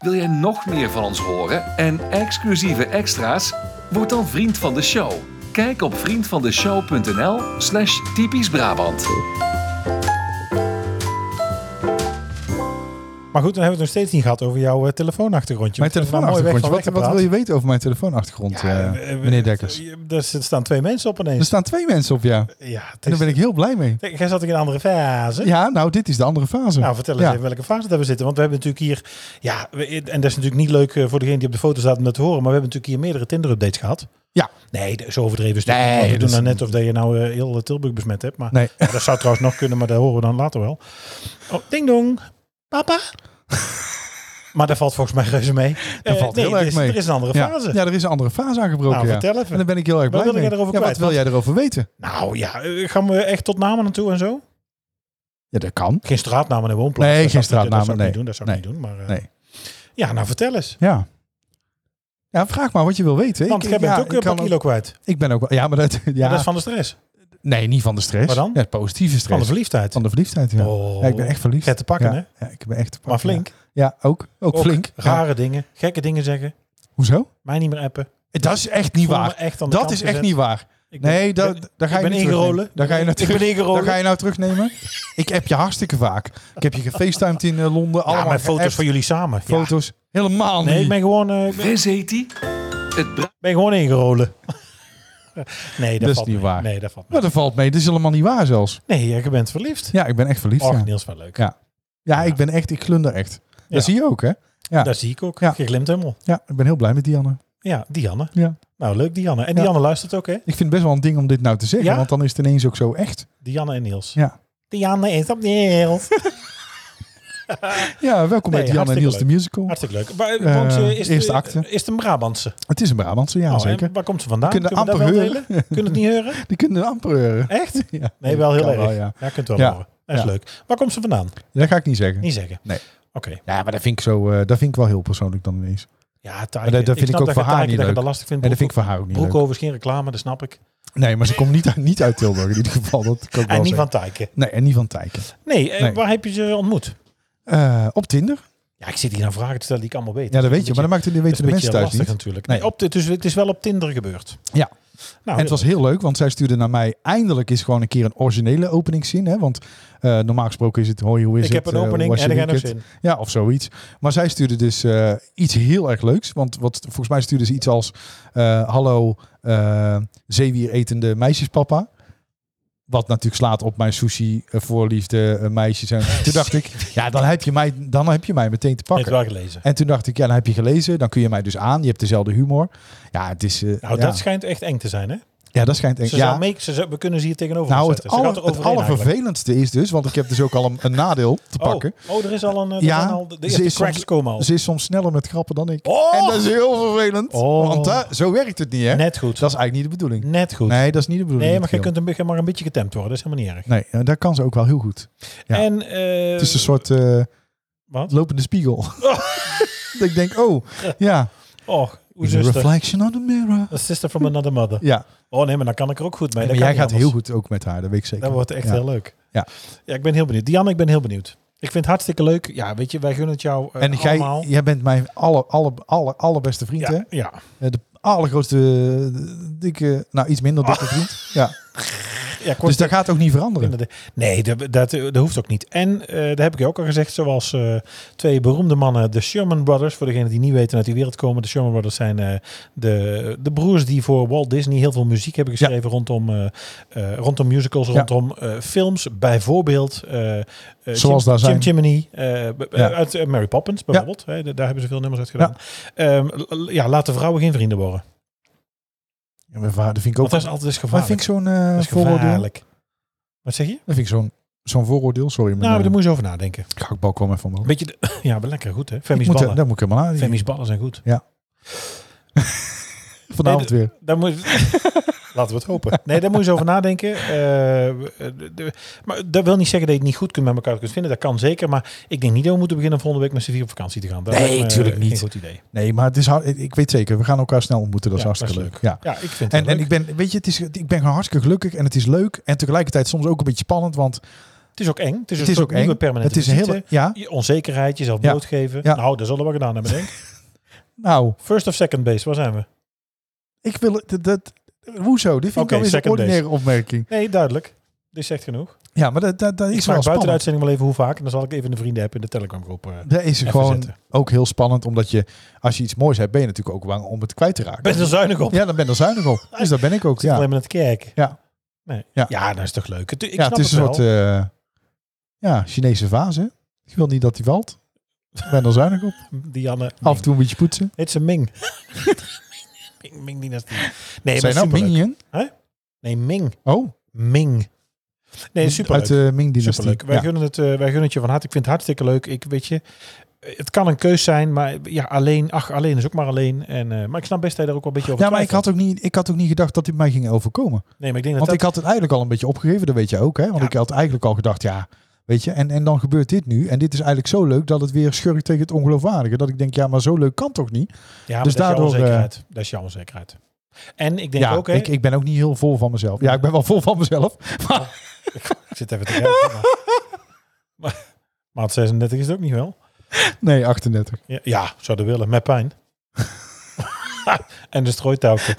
[SPEAKER 3] Wil jij nog meer van ons horen en exclusieve extra's? Word dan vriend van de show. Kijk op vriendvandeshow.nl slash typisch Brabant.
[SPEAKER 1] Maar goed, dan hebben we het nog steeds niet gehad over jouw eh, telefoonachtergrondje.
[SPEAKER 2] Mijn
[SPEAKER 1] Want we hebben daar mooi weg
[SPEAKER 2] telefoonachtergrondje. Wat,
[SPEAKER 1] van
[SPEAKER 2] wat wil
[SPEAKER 1] weggepraat.
[SPEAKER 2] je weten over mijn telefoonachtergrond, eh,
[SPEAKER 1] Eh, eh,
[SPEAKER 2] meneer Dekkers?
[SPEAKER 1] eh, Er zit- staan twee mensen op
[SPEAKER 2] Er
[SPEAKER 1] ineens.
[SPEAKER 2] staan twee mensen op, ja. En
[SPEAKER 1] Ja, het
[SPEAKER 2] daar
[SPEAKER 1] is...
[SPEAKER 2] ben ik heel blij mee.
[SPEAKER 1] Kijk, Jij zat ook in een andere fase.
[SPEAKER 2] Ja, nou, dit is de andere fase.
[SPEAKER 1] Nou, vertel eens
[SPEAKER 2] Ja.
[SPEAKER 1] even welke fase dat we zitten. Want we hebben natuurlijk hier... Ja, we- en dat is natuurlijk niet leuk eh, voor degene die op de foto staat om dat te horen. Maar we hebben natuurlijk hier meerdere Tinder-updates gehad.
[SPEAKER 2] Ja.
[SPEAKER 1] Nee, d- zo overdreven is het niet.
[SPEAKER 2] Nee,
[SPEAKER 1] Want We
[SPEAKER 2] dat
[SPEAKER 1] doen
[SPEAKER 2] is-
[SPEAKER 1] dan net of dat je nou eh, heel eh, Tilburg besmet hebt. Maar
[SPEAKER 2] Nee.
[SPEAKER 1] dat zou trouwens nog kunnen, maar dat horen we dan later wel. Oh, ding dong. Papa. maar daar valt volgens mij reuze mee.
[SPEAKER 2] Dat
[SPEAKER 1] Eh,
[SPEAKER 2] valt
[SPEAKER 1] nee,
[SPEAKER 2] heel
[SPEAKER 1] er
[SPEAKER 2] erg
[SPEAKER 1] is-
[SPEAKER 2] mee.
[SPEAKER 1] Er is een andere
[SPEAKER 2] ja.
[SPEAKER 1] fase.
[SPEAKER 2] Ja, er is een andere fase aangebroken.
[SPEAKER 1] Nou,
[SPEAKER 2] ja.
[SPEAKER 1] vertel even.
[SPEAKER 2] En daar ben ik heel erg
[SPEAKER 1] Wat
[SPEAKER 2] blij
[SPEAKER 1] wil
[SPEAKER 2] mee.
[SPEAKER 1] jij erover
[SPEAKER 2] ja, wat
[SPEAKER 1] kwijt?
[SPEAKER 2] wil
[SPEAKER 1] Wat-
[SPEAKER 2] jij erover weten?
[SPEAKER 1] Nou ja, eh, gaan we echt tot namen naartoe en zo?
[SPEAKER 2] Ja, dat kan.
[SPEAKER 1] Geen straatnamen en woonplaats.
[SPEAKER 2] Nee,
[SPEAKER 1] Dat
[SPEAKER 2] geen
[SPEAKER 1] zou ik niet- Dat
[SPEAKER 2] straatnamen,
[SPEAKER 1] zou ik niet
[SPEAKER 2] nee.
[SPEAKER 1] doen, dat zou ik niet doen. Maar, eh,
[SPEAKER 2] Nee.
[SPEAKER 1] Ja, nou vertel eens.
[SPEAKER 2] Ja. Ja, vraag maar wat je wil weten.
[SPEAKER 1] Want jij bent
[SPEAKER 2] ja,
[SPEAKER 1] ook eh, een
[SPEAKER 2] kan
[SPEAKER 1] paar kilo kwijt.
[SPEAKER 2] Ik ben ook wel... Ja, maar dat...
[SPEAKER 1] Ja.
[SPEAKER 2] Ja,
[SPEAKER 1] Dat is van de stress.
[SPEAKER 2] Nee, niet van de stress.
[SPEAKER 1] Waar dan?
[SPEAKER 2] Ja, positieve stress.
[SPEAKER 1] Van de verliefdheid.
[SPEAKER 2] Van de verliefdheid, ja.
[SPEAKER 1] Oh.
[SPEAKER 2] Ja, ik ben echt verliefd.
[SPEAKER 1] Vet te pakken,
[SPEAKER 2] ja. hè? Ja, ik ben echt te
[SPEAKER 1] Maar
[SPEAKER 2] pakken,
[SPEAKER 1] flink.
[SPEAKER 2] Ja, Ja, ook. Ook,
[SPEAKER 1] Ook
[SPEAKER 2] flink. Ja.
[SPEAKER 1] Rare dingen. Gekke dingen zeggen.
[SPEAKER 2] Hoezo?
[SPEAKER 1] Mij niet meer appen.
[SPEAKER 2] Dat is echt niet
[SPEAKER 1] Voel me
[SPEAKER 2] waar.
[SPEAKER 1] echt aan de
[SPEAKER 2] Dat
[SPEAKER 1] kant
[SPEAKER 2] is echt
[SPEAKER 1] gezet.
[SPEAKER 2] niet waar.
[SPEAKER 1] Ik Ik ben-
[SPEAKER 2] Nee, da- da- daar ga
[SPEAKER 1] ik
[SPEAKER 2] je
[SPEAKER 1] ben
[SPEAKER 2] niet terugnemen.
[SPEAKER 1] ingerollen.
[SPEAKER 2] Daar ga je nou
[SPEAKER 1] Ik ben
[SPEAKER 2] terug-
[SPEAKER 1] ingerollen.
[SPEAKER 2] Daar ga je nou terugnemen. ik heb je hartstikke vaak. Ik heb je gefacetimed in eh, Londen.
[SPEAKER 1] Ja,
[SPEAKER 2] allemaal
[SPEAKER 1] maar foto's
[SPEAKER 2] geappt.
[SPEAKER 1] van jullie samen. Ja.
[SPEAKER 2] Foto's helemaal niet.
[SPEAKER 1] Nee, ik ben gewoon, eh, ik ben,
[SPEAKER 3] Wes heet die? Het bra-
[SPEAKER 1] ben gewoon ingerollen. nee, dat,
[SPEAKER 2] Dat is
[SPEAKER 1] valt
[SPEAKER 2] niet
[SPEAKER 1] mee.
[SPEAKER 2] waar.
[SPEAKER 1] Nee, dat valt mee.
[SPEAKER 2] Maar dat valt mee. Dat is helemaal niet waar zelfs.
[SPEAKER 1] Nee, ja, je bent verliefd.
[SPEAKER 2] Ja, ik ben echt verliefd.
[SPEAKER 1] Och,
[SPEAKER 2] Ja,
[SPEAKER 1] Niels, wel leuk.
[SPEAKER 2] Ja. ja ik ben echt, ik glunder echt.
[SPEAKER 1] Ja.
[SPEAKER 2] Dat zie je ook, hè? Ja.
[SPEAKER 1] Dat zie ik ook.
[SPEAKER 2] Ja.
[SPEAKER 1] Je glimt helemaal.
[SPEAKER 2] Ja, ik ben heel blij met Dianne.
[SPEAKER 1] Ja, Dianne.
[SPEAKER 2] Ja.
[SPEAKER 1] Nou, leuk Dianne. En
[SPEAKER 2] Ja.
[SPEAKER 1] Dianne luistert ook, hè?
[SPEAKER 2] Ik vind het best wel een ding om dit nou te zeggen,
[SPEAKER 1] Ja?
[SPEAKER 2] want dan is het ineens ook zo echt.
[SPEAKER 1] Dianne en Niels.
[SPEAKER 2] Ja,
[SPEAKER 1] Dianne is op Niels.
[SPEAKER 2] ja welkom
[SPEAKER 1] Nee,
[SPEAKER 2] bij Dianne en
[SPEAKER 1] hartstikke
[SPEAKER 2] Niels de
[SPEAKER 1] leuk.
[SPEAKER 2] Musical.
[SPEAKER 1] Hartstikke leuk. Maar, woont ze-
[SPEAKER 2] Eh,
[SPEAKER 1] is,
[SPEAKER 2] eerste
[SPEAKER 1] de,
[SPEAKER 2] acte.
[SPEAKER 1] is het een Brabantse?
[SPEAKER 2] Het is een Brabantse, ja
[SPEAKER 1] Oh, en
[SPEAKER 2] zeker.
[SPEAKER 1] Waar komt ze vandaan?
[SPEAKER 2] Kunnen
[SPEAKER 1] Kunnen we dat
[SPEAKER 2] amper
[SPEAKER 1] wel
[SPEAKER 2] horen.
[SPEAKER 1] delen? Kunnen we het niet horen?
[SPEAKER 2] Die kunnen een amper horen.
[SPEAKER 1] Echt?
[SPEAKER 2] Ja.
[SPEAKER 1] Nee, wel heel
[SPEAKER 2] Kan
[SPEAKER 1] erg.
[SPEAKER 2] wel,
[SPEAKER 1] ja.
[SPEAKER 2] ja.
[SPEAKER 1] kunt wel
[SPEAKER 2] Ja.
[SPEAKER 1] horen. Dat is
[SPEAKER 2] Ja.
[SPEAKER 1] leuk. Waar komt ze vandaan?
[SPEAKER 2] Dat ga ik niet zeggen.
[SPEAKER 1] Niet zeggen.
[SPEAKER 2] Nee.
[SPEAKER 1] Oké.
[SPEAKER 2] Ja, maar dat vind ik, zo, eh, dat vind ik wel heel persoonlijk dan ineens.
[SPEAKER 1] Ja, Tijke.
[SPEAKER 2] Maar dat- dat vind ik
[SPEAKER 1] snap
[SPEAKER 2] ook
[SPEAKER 1] dat
[SPEAKER 2] voor
[SPEAKER 1] je
[SPEAKER 2] haar
[SPEAKER 1] Tijke
[SPEAKER 2] niet
[SPEAKER 1] dat je
[SPEAKER 2] leuk.
[SPEAKER 1] dat lastig vindt.
[SPEAKER 2] En dat vind ik
[SPEAKER 1] Broek-
[SPEAKER 2] voor haar ook niet leuk.
[SPEAKER 1] Broekhoven is geen reclame, dat snap ik.
[SPEAKER 2] Nee, maar ze komt niet uit, niet uit Tilburg in ieder geval. Dat kan ik wel
[SPEAKER 1] En niet van
[SPEAKER 2] zeggen.
[SPEAKER 1] Tijken.
[SPEAKER 2] Nee, en niet van Tijken.
[SPEAKER 1] Nee, eh,
[SPEAKER 2] Nee.
[SPEAKER 1] waar heb je ze ontmoet?
[SPEAKER 2] Eh, op Tinder?
[SPEAKER 1] Ja, ik zit hier aan vragen te stellen die ik allemaal weet.
[SPEAKER 2] Ja, dat weet je. Maar dat
[SPEAKER 1] Een
[SPEAKER 2] maakt het,
[SPEAKER 1] beetje-
[SPEAKER 2] weten de
[SPEAKER 1] dat is een
[SPEAKER 2] mensen
[SPEAKER 1] beetje
[SPEAKER 2] thuis
[SPEAKER 1] lastig
[SPEAKER 2] niet.
[SPEAKER 1] natuurlijk. Nee,
[SPEAKER 2] Nee.
[SPEAKER 1] op, dit- dus het is wel op Tinder gebeurd.
[SPEAKER 2] Ja.
[SPEAKER 1] Nou,
[SPEAKER 2] en het was heel leuk, want zij stuurde naar mij eindelijk is gewoon een keer een originele openingszin. Hè? Want eh, normaal gesproken is het, hoi, hoe is
[SPEAKER 1] ik
[SPEAKER 2] het?
[SPEAKER 1] heb een
[SPEAKER 2] Eh, hoe
[SPEAKER 1] opening
[SPEAKER 2] was
[SPEAKER 1] en
[SPEAKER 2] je
[SPEAKER 1] ik heb nog
[SPEAKER 2] weekend?
[SPEAKER 1] zin.
[SPEAKER 2] Ja, of zoiets. Maar zij stuurde dus eh, iets heel erg leuks. Want wat, volgens mij stuurde ze iets als... eh, Hallo, eh zeewieretende meisjespapa. Wat natuurlijk slaat op mijn sushi, eh, voorliefde, eh, meisjes. En toen dacht ik, ja, dan heb, je mij, dan heb je mij meteen
[SPEAKER 1] Heeft
[SPEAKER 2] te pakken.
[SPEAKER 1] wel gelezen.
[SPEAKER 2] En toen dacht ik, ja, dan heb je gelezen. Dan kun je mij dus aan. Je hebt dezelfde humor. Ja, het is... eh,
[SPEAKER 1] Nou,
[SPEAKER 2] ja.
[SPEAKER 1] dat schijnt echt eng te zijn, hè?
[SPEAKER 2] ja, dat schijnt...
[SPEAKER 1] Ze
[SPEAKER 2] ja,
[SPEAKER 1] zou mee, ze zou- we kunnen ze hier tegenover
[SPEAKER 2] nou, het,
[SPEAKER 1] zetten. Ze
[SPEAKER 2] aller,
[SPEAKER 1] gaat er
[SPEAKER 2] het
[SPEAKER 1] overheen eigenlijk.
[SPEAKER 2] allervervelendste is dus, want ik heb dus ook al een, een nadeel te pakken.
[SPEAKER 1] Oh, oh, er is al een... eh, er
[SPEAKER 2] Ja,
[SPEAKER 1] zijn al de- de
[SPEAKER 2] ze
[SPEAKER 1] eerste
[SPEAKER 2] is soms-
[SPEAKER 1] cracks komen al.
[SPEAKER 2] Ze is soms sneller met grappen dan ik.
[SPEAKER 1] Oh!
[SPEAKER 2] En dat is heel vervelend.
[SPEAKER 1] Oh.
[SPEAKER 2] Want eh, zo werkt het niet, hè?
[SPEAKER 1] Net goed.
[SPEAKER 2] Dat is eigenlijk niet de bedoeling.
[SPEAKER 1] Net goed.
[SPEAKER 2] Nee, dat is niet de bedoeling.
[SPEAKER 1] Nee, maar je
[SPEAKER 2] Giel.
[SPEAKER 1] kunt een, beetje- maar een beetje getemd worden. Dat is helemaal niet erg.
[SPEAKER 2] Nee, eh, daar kan ze ook wel heel goed. Ja.
[SPEAKER 1] En... eh,
[SPEAKER 2] Het is een soort eh,
[SPEAKER 1] Wat? Oh.
[SPEAKER 2] lopende spiegel. dat ik denk, oh, ja.
[SPEAKER 1] Och, hoe
[SPEAKER 2] It's a
[SPEAKER 1] oh, zuster.
[SPEAKER 2] reflection on the mirror.
[SPEAKER 1] A sister from another mother.
[SPEAKER 2] Ja,
[SPEAKER 1] Oh nee, maar dan kan ik er ook goed mee.
[SPEAKER 2] maar
[SPEAKER 1] Dat
[SPEAKER 2] jij
[SPEAKER 1] kan
[SPEAKER 2] gaat
[SPEAKER 1] niet
[SPEAKER 2] heel
[SPEAKER 1] anders.
[SPEAKER 2] goed ook met haar, dat weet ik zeker.
[SPEAKER 1] Dat wordt echt
[SPEAKER 2] Ja.
[SPEAKER 1] heel leuk.
[SPEAKER 2] Ja.
[SPEAKER 1] Ja, ik ben heel benieuwd. Diane, ik ben heel benieuwd. Ik vind het hartstikke leuk. Ja, weet je, wij gunnen het jou eh,
[SPEAKER 2] En jij,
[SPEAKER 1] allemaal.
[SPEAKER 2] jij bent mijn aller, aller, aller, allerbeste vriend, hè?
[SPEAKER 1] ja, ja.
[SPEAKER 2] Eh, De allergrootste, eh, dikke, nou iets minder
[SPEAKER 1] Ah.
[SPEAKER 2] dikke vriend. Ja.
[SPEAKER 1] ja ik word
[SPEAKER 2] Dus dat gaat ook niet veranderen.
[SPEAKER 1] Nee, dat, dat, dat hoeft ook niet. En eh daar heb ik je ook al gezegd, zoals eh, twee beroemde mannen, de Sherman Brothers. Voor degenen die niet weten uit die wereld komen, de Sherman Brothers zijn eh, de, de broers die voor Walt Disney heel veel muziek hebben geschreven rondom, eh, eh, rondom musicals, rondom eh, films. Bijvoorbeeld eh, eh,
[SPEAKER 2] Zoals
[SPEAKER 1] Jim,
[SPEAKER 2] daar zijn.
[SPEAKER 1] Jim Jiminy eh, b-
[SPEAKER 2] Ja.
[SPEAKER 1] uit eh, Mary Poppins bijvoorbeeld. Hè, d- daar hebben ze veel nummers uit gedaan. Ehm, l- ja, laten vrouwen geen vrienden worden.
[SPEAKER 2] Ja, maar vader vind ik
[SPEAKER 1] Want
[SPEAKER 2] ook.
[SPEAKER 1] dat is altijd eens
[SPEAKER 2] maar vind
[SPEAKER 1] gevaarlijk.
[SPEAKER 2] ik zo'n eh,
[SPEAKER 1] Dat is
[SPEAKER 2] vooroordeel. Dat
[SPEAKER 1] gevaarlijk. Wat zeg je?
[SPEAKER 2] vind ik zo'n zo'n vooroordeel. Sorry, maar
[SPEAKER 1] Nou, maar
[SPEAKER 2] eh,
[SPEAKER 1] daar moet je over nadenken.
[SPEAKER 2] gehaktbal kwam even omhoog.
[SPEAKER 1] Beetje de, ja, maar lekker goed hè. Femi's
[SPEAKER 2] Ik moet,
[SPEAKER 1] ballen.
[SPEAKER 2] dat moet ik helemaal aan.
[SPEAKER 1] Femi's ballen zijn goed.
[SPEAKER 2] Vanavond weer.
[SPEAKER 1] Daar moet Laten we het hopen. Nee, daar moet je eens over nadenken. Eh, de- de- maar dat wil niet zeggen dat je het niet goed kunt met elkaar kunt vinden. Dat kan zeker. Maar ik denk niet dat we moeten beginnen volgende week met z'n vier op vakantie te gaan. Dat
[SPEAKER 2] Nee,
[SPEAKER 1] lijkt me eh,
[SPEAKER 2] tuurlijk
[SPEAKER 1] Geen
[SPEAKER 2] niet.
[SPEAKER 1] goed idee.
[SPEAKER 2] Nee, maar het is hard, ik ik weet zeker, we gaan elkaar snel ontmoeten. Dat is
[SPEAKER 1] Ja,
[SPEAKER 2] hartstikke
[SPEAKER 1] dat is
[SPEAKER 2] leuk.
[SPEAKER 1] Ja,
[SPEAKER 2] Ja.
[SPEAKER 1] ik vind het
[SPEAKER 2] En,
[SPEAKER 1] wel
[SPEAKER 2] en
[SPEAKER 1] leuk.
[SPEAKER 2] ik ben, weet je, het is, ik ben gewoon hartstikke gelukkig en het is leuk. En tegelijkertijd soms ook een beetje spannend, want
[SPEAKER 1] het is ook eng. Het is,
[SPEAKER 2] het
[SPEAKER 1] een soort
[SPEAKER 2] is ook
[SPEAKER 1] nieuwe
[SPEAKER 2] eng.
[SPEAKER 1] permanente
[SPEAKER 2] Het is een hele,
[SPEAKER 1] visite.
[SPEAKER 2] ja,
[SPEAKER 1] Je onzekerheid, jezelf
[SPEAKER 2] Ja.
[SPEAKER 1] blootgeven.
[SPEAKER 2] Ja.
[SPEAKER 1] Nou, dat zullen we gedaan hebben, denk ik.
[SPEAKER 2] nou,
[SPEAKER 1] First of second base, waar zijn we?
[SPEAKER 2] ik wil, het- dat, dat hoezo? Dit vind
[SPEAKER 1] Oké,
[SPEAKER 2] ik dan weer een
[SPEAKER 1] second
[SPEAKER 2] ordinaire opmerking.
[SPEAKER 1] Nee, duidelijk. Dit zegt genoeg.
[SPEAKER 2] Ja, maar dat, dat, dat
[SPEAKER 1] Ik
[SPEAKER 2] is
[SPEAKER 1] vraag buiten
[SPEAKER 2] wel
[SPEAKER 1] de
[SPEAKER 2] spannend.
[SPEAKER 1] uitzending wel even hoe vaak. En dan zal ik even de vrienden hebben in de Telegram groep. eh.
[SPEAKER 2] Dat is
[SPEAKER 1] Even
[SPEAKER 2] gewoon
[SPEAKER 1] zetten.
[SPEAKER 2] ook heel spannend, omdat je, als je iets moois hebt, ben je natuurlijk ook bang om het kwijt te raken.
[SPEAKER 1] Ben je er zuinig op?
[SPEAKER 2] Ja, dan ben je er zuinig op. Dus dat ben ik ook,
[SPEAKER 1] Ik zit
[SPEAKER 2] ja.
[SPEAKER 1] alleen maar naar het kijken.
[SPEAKER 2] Ja.
[SPEAKER 1] Nee. Ja.
[SPEAKER 2] Ja.
[SPEAKER 1] dat is toch leuk. Het, ik
[SPEAKER 2] ja,
[SPEAKER 1] snap
[SPEAKER 2] het is een
[SPEAKER 1] wel.
[SPEAKER 2] soort eh, ja, Chinese vaas. Hè? Ik wil niet dat die valt. Ik ben er zuinig op.
[SPEAKER 1] Dianne.
[SPEAKER 2] eh, Af en toe een beetje poetsen.
[SPEAKER 1] Het is een Ming. Ming, Ming die naast die. Nee, maar
[SPEAKER 2] Zijn nou
[SPEAKER 1] superleuk.
[SPEAKER 2] Minion?
[SPEAKER 1] Nee, Ming.
[SPEAKER 2] Oh,
[SPEAKER 1] Ming. Nee, super
[SPEAKER 2] uit de Ming-dynastie.
[SPEAKER 1] Superleuk. Wij,
[SPEAKER 2] Ja.
[SPEAKER 1] gunnen het, eh, wij gunnen het je van harte. Ik vind het hartstikke leuk. Ik weet je, eh, het kan een keus zijn, maar ja, alleen, ach, alleen is ook maar alleen. En, eh, maar ik snap best dat je daar ook wel een beetje over
[SPEAKER 2] Ja, maar ik
[SPEAKER 1] twijfelt.
[SPEAKER 2] had, ook niet, ik had ook niet gedacht dat dit mij ging overkomen.
[SPEAKER 1] Nee, maar ik denk dat
[SPEAKER 2] Want
[SPEAKER 1] dat...
[SPEAKER 2] ik had het eigenlijk al een beetje opgegeven, dat weet je ook. Hè? Want
[SPEAKER 1] Ja.
[SPEAKER 2] ik had eigenlijk al gedacht, ja, weet je. En, en dan gebeurt dit nu. En dit is eigenlijk zo leuk dat het weer schurkt tegen het ongeloofwaardige. Dat ik denk, ja, maar zo leuk kan toch niet?
[SPEAKER 1] ja, maar dat is
[SPEAKER 2] dus
[SPEAKER 1] jouw
[SPEAKER 2] daardoor, eh,
[SPEAKER 1] onzekerheid. Dat is jouw onzekerheid. En ik denk
[SPEAKER 2] ja,
[SPEAKER 1] ook, hè,
[SPEAKER 2] ik, ik ben ook niet heel vol van mezelf. Ja, ik ben wel vol van mezelf. Maar
[SPEAKER 1] Ik zit even te kijken. Maar, maar, maat 36 is het ook niet wel.
[SPEAKER 2] nee, 38.
[SPEAKER 1] Ja, ja zouden willen, met pijn. en de strooitouwtje.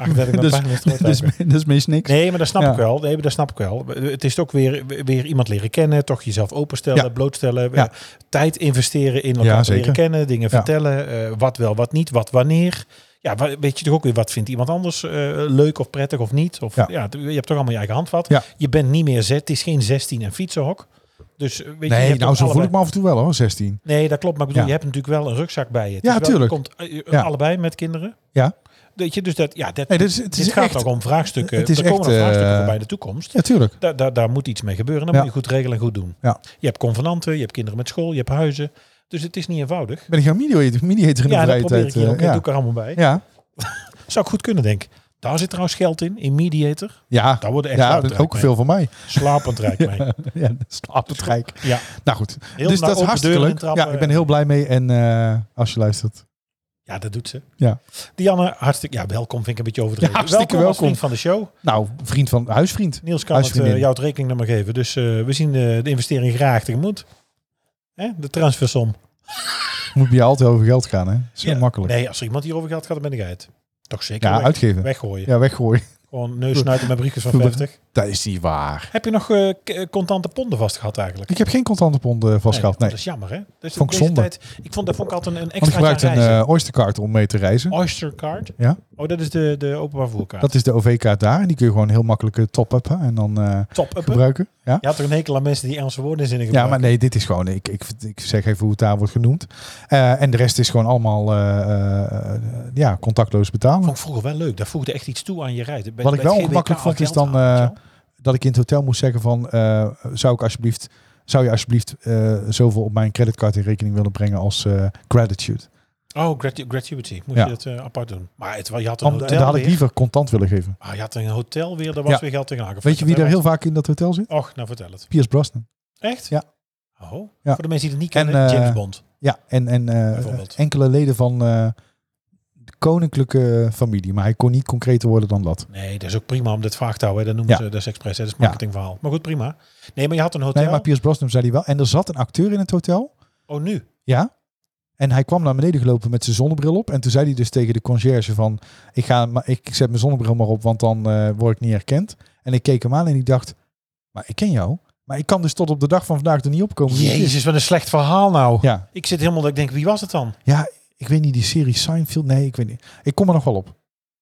[SPEAKER 1] 38 met
[SPEAKER 2] dus,
[SPEAKER 1] pagina's terug te
[SPEAKER 2] dus,
[SPEAKER 1] hebben.
[SPEAKER 2] dus mis niks.
[SPEAKER 1] Nee, maar dat snap
[SPEAKER 2] Ja.
[SPEAKER 1] ik wel. Nee, maar dat snap ik wel. Het is ook weer, weer iemand leren kennen, toch jezelf openstellen,
[SPEAKER 2] Ja.
[SPEAKER 1] blootstellen,
[SPEAKER 2] Ja.
[SPEAKER 1] eh, tijd investeren in elkaar
[SPEAKER 2] Ja,
[SPEAKER 1] te leren
[SPEAKER 2] zeker.
[SPEAKER 1] kennen, dingen
[SPEAKER 2] Ja.
[SPEAKER 1] vertellen, eh, wat wel, wat niet, wat wanneer. Ja, wa- weet je toch ook weer wat vindt iemand anders eh, leuk of prettig of niet? Of ja.
[SPEAKER 2] Ja.
[SPEAKER 1] t- je hebt toch allemaal je eigen handvat.
[SPEAKER 2] Ja.
[SPEAKER 1] Je bent niet meer zet. Het is geen 16 en fietsenhok. Dus eh, weet je, je,
[SPEAKER 2] Nee,
[SPEAKER 1] hebt
[SPEAKER 2] nou
[SPEAKER 1] ook
[SPEAKER 2] zo voel
[SPEAKER 1] allebei-
[SPEAKER 2] ik me af en toe wel hoor, 16.
[SPEAKER 1] Nee, dat klopt. Maar ik bedoel,
[SPEAKER 2] Ja.
[SPEAKER 1] je hebt natuurlijk wel een rugzak bij je. Het
[SPEAKER 2] Ja,
[SPEAKER 1] is wel-
[SPEAKER 2] tuurlijk.
[SPEAKER 1] Komt eh,
[SPEAKER 2] Ja.
[SPEAKER 1] allebei met kinderen.
[SPEAKER 2] Ja.
[SPEAKER 1] Weet je, dus dat, ja, dat,
[SPEAKER 2] Nee, dit is, het
[SPEAKER 1] het
[SPEAKER 2] is
[SPEAKER 1] gaat
[SPEAKER 2] echt...
[SPEAKER 1] nog om vraagstukken.
[SPEAKER 2] het is
[SPEAKER 1] er komen
[SPEAKER 2] echt,
[SPEAKER 1] nog vraagstukken
[SPEAKER 2] eh,
[SPEAKER 1] voorbij in de toekomst.
[SPEAKER 2] Ja, tuurlijk.
[SPEAKER 1] Daar, daar, daar moet iets mee gebeuren. Dat
[SPEAKER 2] Ja.
[SPEAKER 1] moet je goed regelen en goed doen.
[SPEAKER 2] Ja.
[SPEAKER 1] Je hebt convenanten, je hebt kinderen met school, je hebt huizen. Dus het is niet eenvoudig.
[SPEAKER 2] Ben ik jouw mediator, mediator in
[SPEAKER 1] Ja,
[SPEAKER 2] de
[SPEAKER 1] dat
[SPEAKER 2] vrije
[SPEAKER 1] probeer ik
[SPEAKER 2] tijd?
[SPEAKER 1] hier
[SPEAKER 2] eh,
[SPEAKER 1] ook. Dat doe ik er allemaal bij.
[SPEAKER 2] ja.
[SPEAKER 1] Zou ik goed kunnen, denk ik. Daar zit trouwens geld in, in mediator.
[SPEAKER 2] Ja,
[SPEAKER 1] Daar worden echt
[SPEAKER 2] ja
[SPEAKER 1] oud
[SPEAKER 2] dat is
[SPEAKER 1] rijk
[SPEAKER 2] ook
[SPEAKER 1] mee.
[SPEAKER 2] veel van mij.
[SPEAKER 1] Slapend rijk mee. Ja.
[SPEAKER 2] Ja, slaap het rijk. Nou goed,
[SPEAKER 1] Heel
[SPEAKER 2] dus
[SPEAKER 1] naar
[SPEAKER 2] dat is
[SPEAKER 1] open
[SPEAKER 2] hartstikke
[SPEAKER 1] deuren en
[SPEAKER 2] leuk.
[SPEAKER 1] trappen.
[SPEAKER 2] Ja, ik ben heel blij mee en eh, als je luistert.
[SPEAKER 1] Ja, dat doet ze.
[SPEAKER 2] Ja.
[SPEAKER 1] Dianne, hartstikke ja, welkom vind ik een beetje overdreven.
[SPEAKER 2] Ja, hartstikke
[SPEAKER 1] als
[SPEAKER 2] welkom.
[SPEAKER 1] vriend van de show.
[SPEAKER 2] Nou, vriend van huisvriend.
[SPEAKER 1] Niels kan het,
[SPEAKER 2] Huisvriendin.
[SPEAKER 1] eh, jou het rekeningnummer geven. Dus eh, we zien eh, de investering graag tegemoet. Hè? De transfersom.
[SPEAKER 2] Moet bij je altijd over geld gaan, hè? Zo
[SPEAKER 1] Ja.
[SPEAKER 2] makkelijk.
[SPEAKER 1] Nee, als er iemand hierover gaat, gaat het ben ik uit. Toch zeker
[SPEAKER 2] ja,
[SPEAKER 1] weg-
[SPEAKER 2] uitgeven.
[SPEAKER 1] weggooien.
[SPEAKER 2] Ja, weggooien.
[SPEAKER 1] Gewoon neus snuiten met briefjes van
[SPEAKER 2] Doe dat.
[SPEAKER 1] 50.
[SPEAKER 2] Dat is niet waar.
[SPEAKER 1] Heb je nog eh, k- eh, contante ponden vast gehad eigenlijk?
[SPEAKER 2] Ik heb geen contante pond eh, vast gehad. Nee.
[SPEAKER 1] Dat is jammer, hè? Dus
[SPEAKER 2] Vond ik
[SPEAKER 1] deze
[SPEAKER 2] zonde.
[SPEAKER 1] tijd- ik vond, dat vond ik altijd een, een
[SPEAKER 2] Want ik
[SPEAKER 1] extra
[SPEAKER 2] gebruik een
[SPEAKER 1] reizen.
[SPEAKER 2] eh Oysterkaart om mee te reizen.
[SPEAKER 1] Oyster card.
[SPEAKER 2] Ja.
[SPEAKER 1] Oh, dat is de, de openbaar voerkaart.
[SPEAKER 2] Dat is de OV-kaart daar. En die kun je gewoon heel makkelijk eh, top-uppen en dan eh,
[SPEAKER 1] Top uppen.
[SPEAKER 2] gebruiken. Ja?
[SPEAKER 1] Je had toch een hekel aan mensen die Engelse woorden in zinnen
[SPEAKER 2] ja,
[SPEAKER 1] gebruiken?
[SPEAKER 2] maar nee, dit is gewoon... Ik, ik, ik zeg even hoe het daar wordt genoemd. Eh, en de rest is gewoon allemaal eh, eh, eh, ja, contactloos betalen.
[SPEAKER 1] Vond ik vroeger wel leuk. Dat voegde echt iets toe aan je rijden. Bij-
[SPEAKER 2] Wat ik
[SPEAKER 1] bij het
[SPEAKER 2] wel
[SPEAKER 1] GBK
[SPEAKER 2] makkelijk vond, is
[SPEAKER 1] geld
[SPEAKER 2] dan,
[SPEAKER 1] halen,
[SPEAKER 2] eh,
[SPEAKER 1] weet je wel.
[SPEAKER 2] dat ik in het hotel moest zeggen van eh, zou ik alsjeblieft zou je alsjeblieft eh, zoveel op mijn creditcard in rekening willen brengen als eh, gratitude.
[SPEAKER 1] Oh, gratu- gratuity. Moest
[SPEAKER 2] Ja.
[SPEAKER 1] je dat eh, apart doen. Maar het, je had een
[SPEAKER 2] Om,
[SPEAKER 1] hotel
[SPEAKER 2] daar had ik
[SPEAKER 1] weer.
[SPEAKER 2] liever contant willen geven.
[SPEAKER 1] Ah, je had een hotel weer. Daar was
[SPEAKER 2] Ja.
[SPEAKER 1] weer geld tegen.
[SPEAKER 2] Weet je wie daar heel vaak in dat hotel zit?
[SPEAKER 1] Och, nou vertel het.
[SPEAKER 2] Piers Brosnan.
[SPEAKER 1] Echt?
[SPEAKER 2] Ja.
[SPEAKER 1] Oh,
[SPEAKER 2] Ja.
[SPEAKER 1] voor de mensen die het niet
[SPEAKER 2] En,
[SPEAKER 1] kennen,
[SPEAKER 2] eh,
[SPEAKER 1] James Bond.
[SPEAKER 2] Ja, en, en eh,
[SPEAKER 1] Bijvoorbeeld.
[SPEAKER 2] enkele leden van eh, de koninklijke familie. Maar hij kon niet concreter worden dan dat.
[SPEAKER 1] Nee, dat is ook prima om dit vaag te houden. hè. Dat noemen
[SPEAKER 2] Ja.
[SPEAKER 1] ze, dat is expres, hè. dat is
[SPEAKER 2] Ja.
[SPEAKER 1] marketingverhaal. Maar goed, prima. Nee, maar je had een hotel.
[SPEAKER 2] Nee, maar Piers Brosnan zei hij wel. En er zat een acteur in het hotel.
[SPEAKER 1] Oh, nu?
[SPEAKER 2] Ja. En hij kwam naar beneden gelopen met zijn zonnebril op. En toen zei hij dus tegen de conciërge van... Ik, ga, maar ik zet mijn zonnebril maar op, want dan eh, word ik niet herkend. En ik keek hem aan en ik dacht... Maar ik ken jou. Maar ik kan dus tot op de dag van vandaag er niet opkomen wie het is.
[SPEAKER 1] Jezus, wat een slecht verhaal nou.
[SPEAKER 2] Oh, Ja.
[SPEAKER 1] Ik zit helemaal dat ik denk, wie was het dan?
[SPEAKER 2] ja, ik weet niet, die serie Seinfeld. Nee, ik weet niet. Ik kom er nog wel op.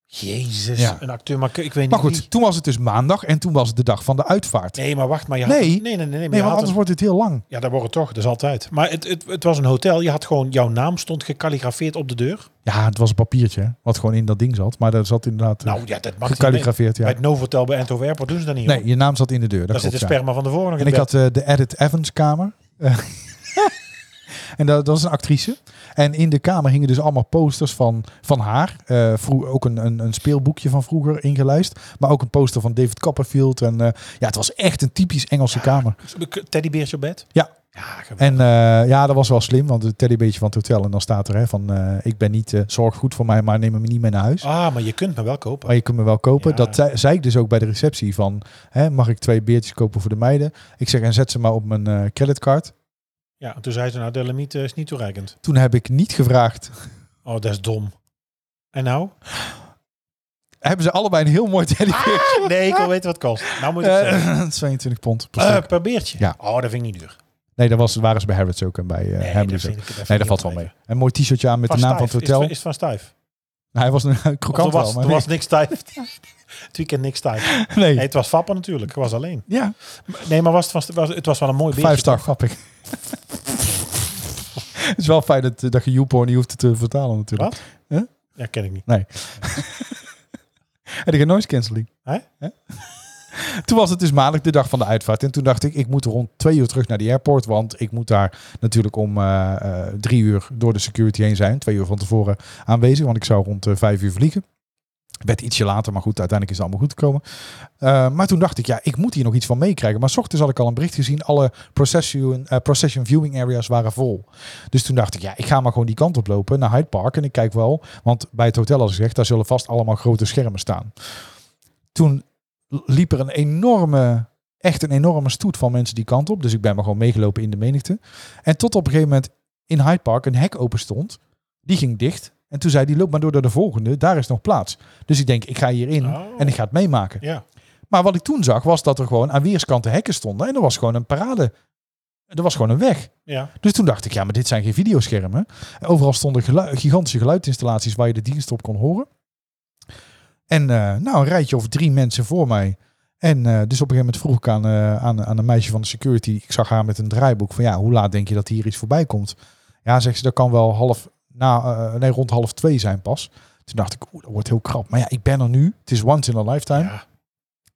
[SPEAKER 1] Jezus,
[SPEAKER 2] Ja.
[SPEAKER 1] een acteur, maar ik- ik weet
[SPEAKER 2] Maar
[SPEAKER 1] niet
[SPEAKER 2] goed,
[SPEAKER 1] wie.
[SPEAKER 2] toen was het dus maandag. En toen was het de dag van de uitvaart.
[SPEAKER 1] Nee, maar wacht, maar je had...
[SPEAKER 2] Nee.
[SPEAKER 1] nee, nee, nee, nee, maar
[SPEAKER 2] Nee,
[SPEAKER 1] je
[SPEAKER 2] want
[SPEAKER 1] had
[SPEAKER 2] anders
[SPEAKER 1] een-
[SPEAKER 2] wordt het heel lang.
[SPEAKER 1] Ja, daar wordt het toch, dat is altijd. Maar het, het, het was een hotel, je had gewoon, jouw naam stond gekalligrafeerd op de deur.
[SPEAKER 2] Ja, het was een papiertje hè, wat gewoon in dat ding zat. Maar daar zat inderdaad eh,
[SPEAKER 1] Nou ja, dat mag niet.
[SPEAKER 2] gekalligrafeerd.
[SPEAKER 1] Bij
[SPEAKER 2] Ja.
[SPEAKER 1] het Novotel bij Eindhoven Airport doen ze dat niet.
[SPEAKER 2] Nee,
[SPEAKER 1] joh.
[SPEAKER 2] je naam zat in de deur. Dat
[SPEAKER 1] daar zit
[SPEAKER 2] klopt,
[SPEAKER 1] het
[SPEAKER 2] ja.
[SPEAKER 1] sperma van tevoren nog in
[SPEAKER 2] En ik
[SPEAKER 1] bed.
[SPEAKER 2] had eh, de Edith Evans kamer. Eh, en dat, dat was een actrice. En in de kamer hingen dus allemaal posters van, van haar. Eh, vroeg, ook een, een, een speelboekje van vroeger ingelijst. Maar ook een poster van David Copperfield. En eh, ja, het was echt een typisch Engelse kamer.
[SPEAKER 1] Teddybeertje op bed?
[SPEAKER 2] Ja.
[SPEAKER 1] Ja, geweldig.
[SPEAKER 2] En eh, ja, dat was wel slim. Want het teddybeetje van het hotel. En dan staat er hè, van eh, ik ben niet, eh, zorg goed voor mij, maar neem me niet mee naar huis.
[SPEAKER 1] Ah, maar je kunt me wel kopen.
[SPEAKER 2] Maar je kunt me wel kopen.
[SPEAKER 1] Ja.
[SPEAKER 2] Dat zei, zei ik dus ook bij de receptie van, hè, mag ik twee beertjes kopen voor de meiden? Ik zeg, en zet ze maar op mijn eh, creditcard.
[SPEAKER 1] Ja, en toen zei ze, nou, de limiet eh, is niet toereikend.
[SPEAKER 2] Toen heb ik niet gevraagd.
[SPEAKER 1] Oh, dat is dom. En nou?
[SPEAKER 2] Hebben ze allebei een heel mooi teddybeer?
[SPEAKER 1] Nee, ik wil weten wat het kost. Nou Ah, moet ik
[SPEAKER 2] Eh,
[SPEAKER 1] zeggen.
[SPEAKER 2] 22 pond per
[SPEAKER 1] Eh,
[SPEAKER 2] stuk.
[SPEAKER 1] per beertje?
[SPEAKER 2] Ja. Eh,
[SPEAKER 1] Oh, dat vind ik niet duur.
[SPEAKER 2] Nee, dat was, waren ze bij Harrods ook en bij eh
[SPEAKER 1] Nee,
[SPEAKER 2] Hamleys ook.
[SPEAKER 1] vind ik- vind ik
[SPEAKER 2] Nee, dat valt wel mee. Een mooi t-shirtje aan met
[SPEAKER 1] Van
[SPEAKER 2] de naam van het
[SPEAKER 1] Stuyf.
[SPEAKER 2] hotel.
[SPEAKER 1] Is, is van Stuyf.
[SPEAKER 2] Hij was een
[SPEAKER 1] Of Er
[SPEAKER 2] krokant wel,
[SPEAKER 1] was,
[SPEAKER 2] maar
[SPEAKER 1] er was niks Stuyf. het weekend niks Stuyf.
[SPEAKER 2] nee.
[SPEAKER 1] Nee, het was Vappen natuurlijk. Ik was alleen.
[SPEAKER 2] Ja,
[SPEAKER 1] Nee, maar was het, van- was, het was wel een mooi beertje.
[SPEAKER 2] vijf star, grappig. Het is wel fijn dat, eh, dat je YouPorn niet hoeft te vertalen natuurlijk.
[SPEAKER 1] Wat?
[SPEAKER 2] Huh?
[SPEAKER 1] Ja, ken ik niet.
[SPEAKER 2] En ik heb noise cancelling.
[SPEAKER 1] Hè?
[SPEAKER 2] Hè? Toen was het dus maandag de dag van de uitvaart. En toen dacht ik, ik moet rond twee uur terug naar die airport. Want ik moet daar natuurlijk om eh, eh, drie uur door de security heen zijn. Twee uur van tevoren aanwezig. Want ik zou rond eh, vijf uur vliegen. Werd ietsje later, maar goed, uiteindelijk is het allemaal goed gekomen. Eh, maar toen dacht ik, ja, ik moet hier nog iets van meekrijgen. Maar 's ochtends had ik al een bericht gezien. Alle procession, eh, procession viewing areas waren vol. Dus toen dacht ik, ja, ik ga maar gewoon die kant op lopen naar Hyde Park. En ik kijk wel, want bij het hotel, als ik zeg, daar zullen vast allemaal grote schermen staan toen liep er een enorme, echt een enorme stoet van mensen die kant op. Dus ik ben maar gewoon meegelopen in de menigte. En tot op een gegeven moment in Hyde Park een hek open stond. Die ging dicht. En toen zei die loop maar door naar de volgende, daar is nog plaats. Dus ik denk, ik ga hierin
[SPEAKER 1] Oh.
[SPEAKER 2] en ik ga het meemaken.
[SPEAKER 1] Ja.
[SPEAKER 2] Maar wat ik toen zag, was dat er gewoon aan weerskanten hekken stonden. En er was gewoon een parade. Er was gewoon een weg.
[SPEAKER 1] Ja.
[SPEAKER 2] Dus toen dacht ik, ja, maar dit zijn geen videoschermen. Overal stonden gelu- gigantische geluidinstallaties waar je de dienst op kon horen. En eh, nou, een rijtje of drie mensen voor mij. En eh, dus op een gegeven moment vroeg ik aan, eh, aan, aan een meisje van de security. Ik zag haar met een draaiboek van ja, hoe laat denk je dat hier iets voorbij komt? Ja, zegt ze, dat kan wel half, na, eh, nee, rond half twee zijn pas. Toen dacht ik, oeh, dat wordt heel krap. Maar ja, ik ben er nu. Het is once in a lifetime.
[SPEAKER 1] Ja.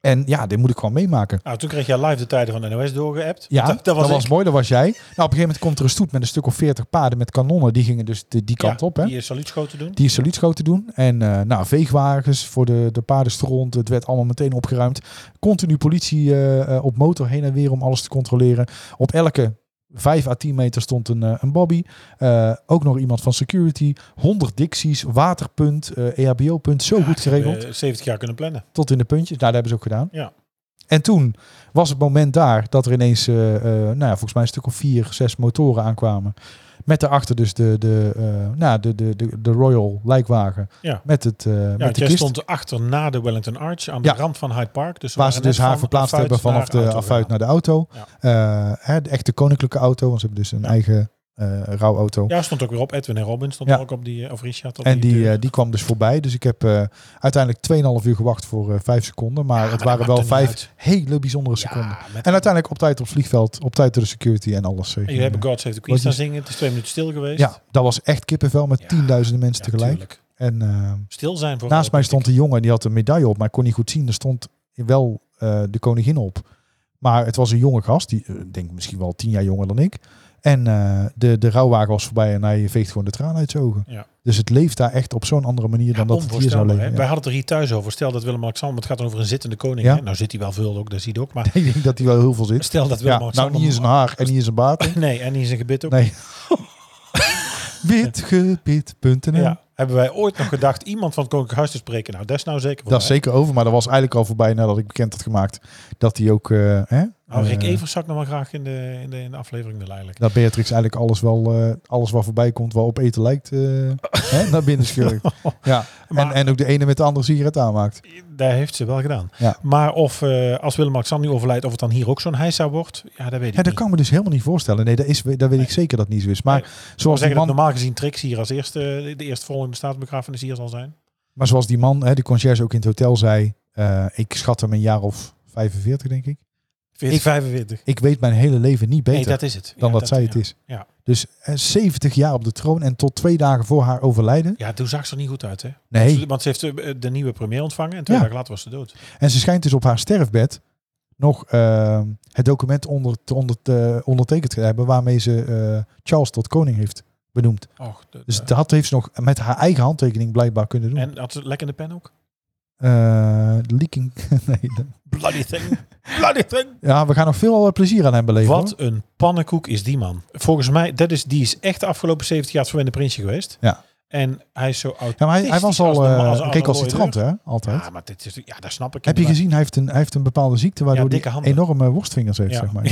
[SPEAKER 2] En ja, dit moet ik gewoon meemaken.
[SPEAKER 1] Nou, toen kreeg jij live de tijden van de NOS doorgeappt.
[SPEAKER 2] Ja,
[SPEAKER 1] dat, dat was, ik.
[SPEAKER 2] mooi, dat was jij. Nou, op een gegeven moment komt er een stoet met een stuk of 40 paarden met kanonnen. Die gingen dus de, die kant
[SPEAKER 1] Ja,
[SPEAKER 2] op. Hè?
[SPEAKER 1] Die saluutschoten doen.
[SPEAKER 2] Die is saluutschoten doen. En eh, nou, veegwagens voor de, de paardenstront. Het werd allemaal meteen opgeruimd. Continu politie eh, eh, op motor heen en weer om alles te controleren. Op elke 5 à 10 meter stond een, eh, een bobby. Eh, ook nog iemand van security. 100 dicties, waterpunt, eh EHBO-punt. Zo goed geregeld
[SPEAKER 1] Eh, 70 jaar kunnen plannen.
[SPEAKER 2] tot in de puntjes. Nou, dat hebben ze ook gedaan.
[SPEAKER 1] Ja.
[SPEAKER 2] En toen was het moment daar dat er ineens, eh, eh, nou ja, volgens mij een stuk of vier, zes motoren aankwamen. Met daarachter dus de, de, eh, nou, de, de, de, de Royal lijkwagen.
[SPEAKER 1] Ja.
[SPEAKER 2] Met, het, eh,
[SPEAKER 1] Ja,
[SPEAKER 2] met
[SPEAKER 1] want
[SPEAKER 2] de
[SPEAKER 1] jij
[SPEAKER 2] kist.
[SPEAKER 1] stond achter na de Wellington Arch aan de
[SPEAKER 2] Ja.
[SPEAKER 1] rand van Hyde Park. Dus we
[SPEAKER 2] waar
[SPEAKER 1] waren
[SPEAKER 2] ze dus
[SPEAKER 1] net
[SPEAKER 2] haar
[SPEAKER 1] van
[SPEAKER 2] verplaatst
[SPEAKER 1] affuit
[SPEAKER 2] hebben vanaf
[SPEAKER 1] naar
[SPEAKER 2] de
[SPEAKER 1] auto
[SPEAKER 2] affuit
[SPEAKER 1] gegaan.
[SPEAKER 2] naar de auto. Eh, hè, de echte koninklijke auto, want ze hebben dus een
[SPEAKER 1] Ja.
[SPEAKER 2] eigen eh rouwauto.
[SPEAKER 1] Ja, stond ook weer op. Edwin en Robin stond
[SPEAKER 2] Ja.
[SPEAKER 1] ook op die, eh, of Richard. Op
[SPEAKER 2] En die,
[SPEAKER 1] deur.
[SPEAKER 2] eh, die kwam dus voorbij. Dus ik heb eh, uiteindelijk 2,5 uur gewacht voor eh 5 seconden. Maar
[SPEAKER 1] maar
[SPEAKER 2] het
[SPEAKER 1] dat
[SPEAKER 2] waren
[SPEAKER 1] maakt
[SPEAKER 2] wel
[SPEAKER 1] er niet
[SPEAKER 2] vijf
[SPEAKER 1] uit.
[SPEAKER 2] hele bijzondere seconden.
[SPEAKER 1] ja, met,
[SPEAKER 2] En uiteindelijk op tijd op het vliegveld, op tijd door de security en alles. eh,
[SPEAKER 1] en
[SPEAKER 2] ging,
[SPEAKER 1] jullie hebben
[SPEAKER 2] eh,
[SPEAKER 1] God Save the Queen
[SPEAKER 2] Wat
[SPEAKER 1] staan
[SPEAKER 2] is-
[SPEAKER 1] zingen. Het is twee minuten stil geweest.
[SPEAKER 2] ja, dat was echt kippenvel met
[SPEAKER 1] Ja.
[SPEAKER 2] tienduizenden mensen
[SPEAKER 1] Ja,
[SPEAKER 2] tegelijk.
[SPEAKER 1] tuurlijk.
[SPEAKER 2] En eh,
[SPEAKER 1] Stil zijn voor
[SPEAKER 2] naast mij stond een jongen die had een medaille op, maar ik kon niet goed zien. Er stond wel eh, de koningin op. Maar het was een jonge gast, die eh, ik denk misschien wel tien jaar jonger dan ik. En eh, de, de rouwwagen was voorbij en hij veegt gewoon de tranen uit zijn ogen.
[SPEAKER 1] Ja.
[SPEAKER 2] Dus het leeft daar echt op zo'n andere manier dan dat het hier zou
[SPEAKER 1] onvoorstelbaar. hè?
[SPEAKER 2] leven.
[SPEAKER 1] Wij
[SPEAKER 2] Ja.
[SPEAKER 1] hadden het er hier thuis over. Stel dat Willem-Alexander, het gaat dan over een zittende koning.
[SPEAKER 2] Ja.
[SPEAKER 1] Hè? Nou zit hij wel veel ook, dat zie je ook. Maar
[SPEAKER 2] Ik denk dat hij wel heel veel zit.
[SPEAKER 1] stel dat
[SPEAKER 2] Ja, nou,
[SPEAKER 1] Willem-Alexander...
[SPEAKER 2] niet in zijn haar en niet in zijn baard.
[SPEAKER 1] Nee, en die is een gebit ook.
[SPEAKER 2] Nee. Witgebit.nl
[SPEAKER 1] Ja. Hebben wij ooit nog gedacht iemand van het Koninklijk Huis te spreken? Nou, dat is nou zeker
[SPEAKER 2] Dat is zeker over, maar dat was eigenlijk al voorbij nadat ik bekend had gemaakt dat hij ook, eh, hè,
[SPEAKER 1] Nou, Rick
[SPEAKER 2] eh,
[SPEAKER 1] Evers zou ik nog wel graag in de, in de, in de aflevering willen eigenlijk.
[SPEAKER 2] dat Beatrix eigenlijk alles wel, eh, alles wat voorbij komt, wel op eten lijkt, eh, hè, naar binnen schurkt. Ja. En,
[SPEAKER 1] Oh. Maar-
[SPEAKER 2] en ook de ene met de andere sigaret aanmaakt.
[SPEAKER 1] Daar heeft ze wel gedaan.
[SPEAKER 2] Ja.
[SPEAKER 1] Maar of eh, als Willem-Alexander nu overlijdt, of het dan hier ook zo'n heisa wordt, ja, dat weet ik
[SPEAKER 2] Ja, dat
[SPEAKER 1] niet.
[SPEAKER 2] kan me dus helemaal niet voorstellen. Nee, dat, is, dat weet ik zeker dat het niet zo is. Maar
[SPEAKER 1] Nee.
[SPEAKER 2] zoals die
[SPEAKER 1] zeggen
[SPEAKER 2] man,
[SPEAKER 1] dat normaal gezien Trix hier als eerste, eh, de eerstvolgende staatsbegrafenis hier zal zijn.
[SPEAKER 2] maar zoals die man, hè, de conciërge ook in het hotel zei, eh, ik schat hem een jaar of 45 denk ik.
[SPEAKER 1] 40, 45.
[SPEAKER 2] Ik weet mijn hele leven niet beter.
[SPEAKER 1] Nee, dat is het.
[SPEAKER 2] dan
[SPEAKER 1] Ja,
[SPEAKER 2] dat, zij het
[SPEAKER 1] ja.
[SPEAKER 2] is.
[SPEAKER 1] Ja.
[SPEAKER 2] Dus eh, 70 jaar op de troon en tot twee dagen voor haar overlijden.
[SPEAKER 1] Ja, toen zag ze er niet goed uit, hè?
[SPEAKER 2] Nee.
[SPEAKER 1] Want ze heeft eh, de nieuwe premier ontvangen en twee
[SPEAKER 2] Ja.
[SPEAKER 1] dagen later was ze dood.
[SPEAKER 2] En ze schijnt dus op haar sterfbed nog eh, het document onder, te- onder, te- ondertekend te hebben waarmee ze eh, Charles tot koning heeft benoemd.
[SPEAKER 1] Och, de-
[SPEAKER 2] Dus
[SPEAKER 1] de-
[SPEAKER 2] dat heeft ze nog met haar eigen handtekening blijkbaar kunnen doen.
[SPEAKER 1] en had ze lek in de pen ook?
[SPEAKER 2] Eh, leaking. nee, dat-
[SPEAKER 1] Bloody thing. Bloody thing.
[SPEAKER 2] ja, we gaan nog veel eh, plezier aan hem beleven.
[SPEAKER 1] Wat
[SPEAKER 2] hoor.
[SPEAKER 1] een pannenkoek is die man. Volgens mij, dat is, die is echt de afgelopen 70 jaar het verwende prinsje geweest.
[SPEAKER 2] Ja.
[SPEAKER 1] En hij is zo oud.
[SPEAKER 2] Ja, maar hij, hij was al
[SPEAKER 1] Als een-
[SPEAKER 2] eh,
[SPEAKER 1] als een- als een
[SPEAKER 2] recalcitrant, hè? Altijd.
[SPEAKER 1] Ja, maar dit is, ja, dat snap ik.
[SPEAKER 2] Heb je
[SPEAKER 1] inderdaad.
[SPEAKER 2] gezien, hij heeft een, hij heeft een bepaalde ziekte waardoor
[SPEAKER 1] dikke
[SPEAKER 2] hij
[SPEAKER 1] handen.
[SPEAKER 2] enorme worstvingers heeft,
[SPEAKER 1] Ja.
[SPEAKER 2] zeg maar.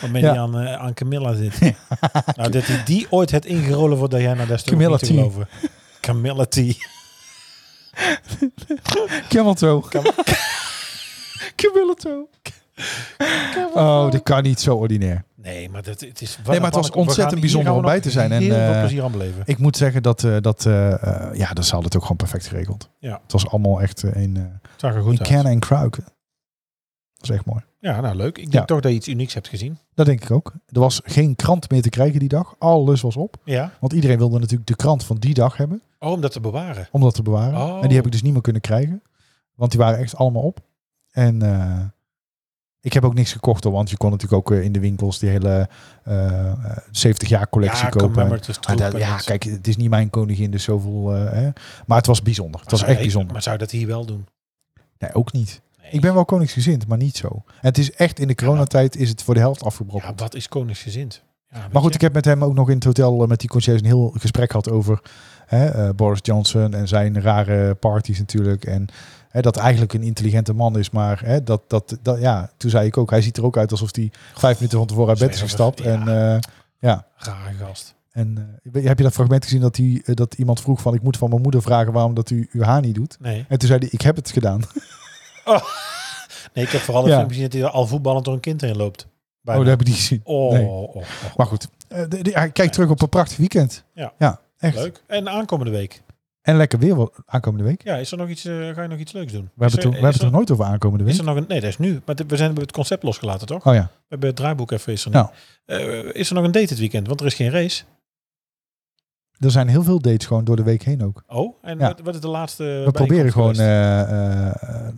[SPEAKER 1] Waarmee
[SPEAKER 2] Ja.
[SPEAKER 1] die aan, eh, aan Camilla zit. nou, dat hij die ooit het ingerollen wordt dat jij naar Desktop
[SPEAKER 2] Camilla
[SPEAKER 1] niet te
[SPEAKER 2] T.
[SPEAKER 1] geloven. Camilla T.
[SPEAKER 2] Camel toe. Camel toe. Oh, dit kan niet zo ordinair.
[SPEAKER 1] Nee, maar dat, het is... wat
[SPEAKER 2] maar
[SPEAKER 1] een
[SPEAKER 2] het was
[SPEAKER 1] pannenkoek. We
[SPEAKER 2] ontzettend
[SPEAKER 1] gaan-
[SPEAKER 2] bijzonder
[SPEAKER 1] hier gaan we
[SPEAKER 2] om bij
[SPEAKER 1] nog
[SPEAKER 2] te zijn en,
[SPEAKER 1] Heel
[SPEAKER 2] eh,
[SPEAKER 1] veel plezier aan beleven.
[SPEAKER 2] Ik moet zeggen dat, eh, dat eh, eh, ja, dan zal het ook gewoon perfect geregeld.
[SPEAKER 1] Ja.
[SPEAKER 2] Het was allemaal echt eh, een, eh
[SPEAKER 1] Het zag er
[SPEAKER 2] een
[SPEAKER 1] goed uit.
[SPEAKER 2] kennen en kruiken. Dat is echt mooi.
[SPEAKER 1] Ja, nou leuk. Ik denk
[SPEAKER 2] Ja.
[SPEAKER 1] toch dat je iets unieks hebt gezien.
[SPEAKER 2] Dat denk ik ook. Er was geen krant meer te krijgen die dag. Alles was op.
[SPEAKER 1] Ja.
[SPEAKER 2] Want iedereen wilde natuurlijk de krant van die dag hebben.
[SPEAKER 1] Oh, om dat te bewaren.
[SPEAKER 2] Om dat te bewaren.
[SPEAKER 1] Oh.
[SPEAKER 2] En die heb ik dus niet meer kunnen krijgen. Want die waren echt allemaal op. En eh, ik heb ook niks gekocht. Hoor, want je kon natuurlijk ook eh, in de winkels die hele eh, eh, 70 jaar collectie
[SPEAKER 1] ja,
[SPEAKER 2] kopen.
[SPEAKER 1] commemorative
[SPEAKER 2] Maar
[SPEAKER 1] troep
[SPEAKER 2] dat-
[SPEAKER 1] en
[SPEAKER 2] ja,
[SPEAKER 1] dat soort-
[SPEAKER 2] kijk, het is niet mijn koningin, dus zoveel. eh, hè. Maar het was bijzonder. Het was
[SPEAKER 1] Maar
[SPEAKER 2] echt
[SPEAKER 1] zou-
[SPEAKER 2] bijzonder.
[SPEAKER 1] Ah, Maar zou je dat hier wel doen?
[SPEAKER 2] Nee, ook niet.
[SPEAKER 1] Nee.
[SPEAKER 2] Ik ben wel koningsgezind, maar niet zo. En het is echt in de coronatijd is het voor de helft afgebroken.
[SPEAKER 1] Ja, wat is koningsgezind? Ja, weet
[SPEAKER 2] maar goed,
[SPEAKER 1] je?
[SPEAKER 2] ik heb met hem ook nog in het hotel eh, met die conciërge een heel gesprek gehad over hè, eh, Boris Johnson en zijn rare parties natuurlijk. En hè, dat eigenlijk een intelligente man is, maar hè, dat, dat, dat, ja, toen zei ik ook, hij ziet er ook uit alsof hij vijf minuten van tevoren uit bed is
[SPEAKER 1] Smerig,
[SPEAKER 2] gestapt.
[SPEAKER 1] ja.
[SPEAKER 2] En eh, ja,
[SPEAKER 1] Rare gast.
[SPEAKER 2] En eh, weet je, heb je dat fragment gezien dat, die, eh, dat iemand vroeg van... ik moet van mijn moeder vragen waarom dat u uw haar niet doet?
[SPEAKER 1] Nee.
[SPEAKER 2] En toen zei hij, ik heb het gedaan.
[SPEAKER 1] nee, ik heb vooral een
[SPEAKER 2] Ja.
[SPEAKER 1] filmpje gezien dat hij al voetballend door een kind heen loopt.
[SPEAKER 2] Oh,
[SPEAKER 1] Bijna.
[SPEAKER 2] dat heb ik niet gezien.
[SPEAKER 1] oh,
[SPEAKER 2] Nee.
[SPEAKER 1] oh, oh.
[SPEAKER 2] Maar goed, eh, de- de- ja, kijk terug op een prachtig weekend.
[SPEAKER 1] Ja.
[SPEAKER 2] ja echt.
[SPEAKER 1] Leuk. En aankomende week.
[SPEAKER 2] En lekker weer wel aankomende week.
[SPEAKER 1] Ja, is er nog iets, eh, ga je nog iets leuks doen?
[SPEAKER 2] We hebben,
[SPEAKER 1] is er,
[SPEAKER 2] het er- we hebben
[SPEAKER 1] is
[SPEAKER 2] het er nooit over aankomende
[SPEAKER 1] er, is
[SPEAKER 2] week.
[SPEAKER 1] er nog een, nee, dat is nu. Maar we zijn we hebben het concept losgelaten, toch? We
[SPEAKER 2] Oh ja.
[SPEAKER 1] hebben het draaiboek even is er
[SPEAKER 2] Nou.
[SPEAKER 1] niet. Eh, is er nog een date dit weekend? Want er is geen race.
[SPEAKER 2] Er zijn heel veel dates gewoon door de week heen ook.
[SPEAKER 1] Oh, en
[SPEAKER 2] Ja.
[SPEAKER 1] wat, wat is de laatste
[SPEAKER 2] We
[SPEAKER 1] bijeenkomst
[SPEAKER 2] proberen gewoon...
[SPEAKER 1] geweest?
[SPEAKER 2] eh, eh, eh,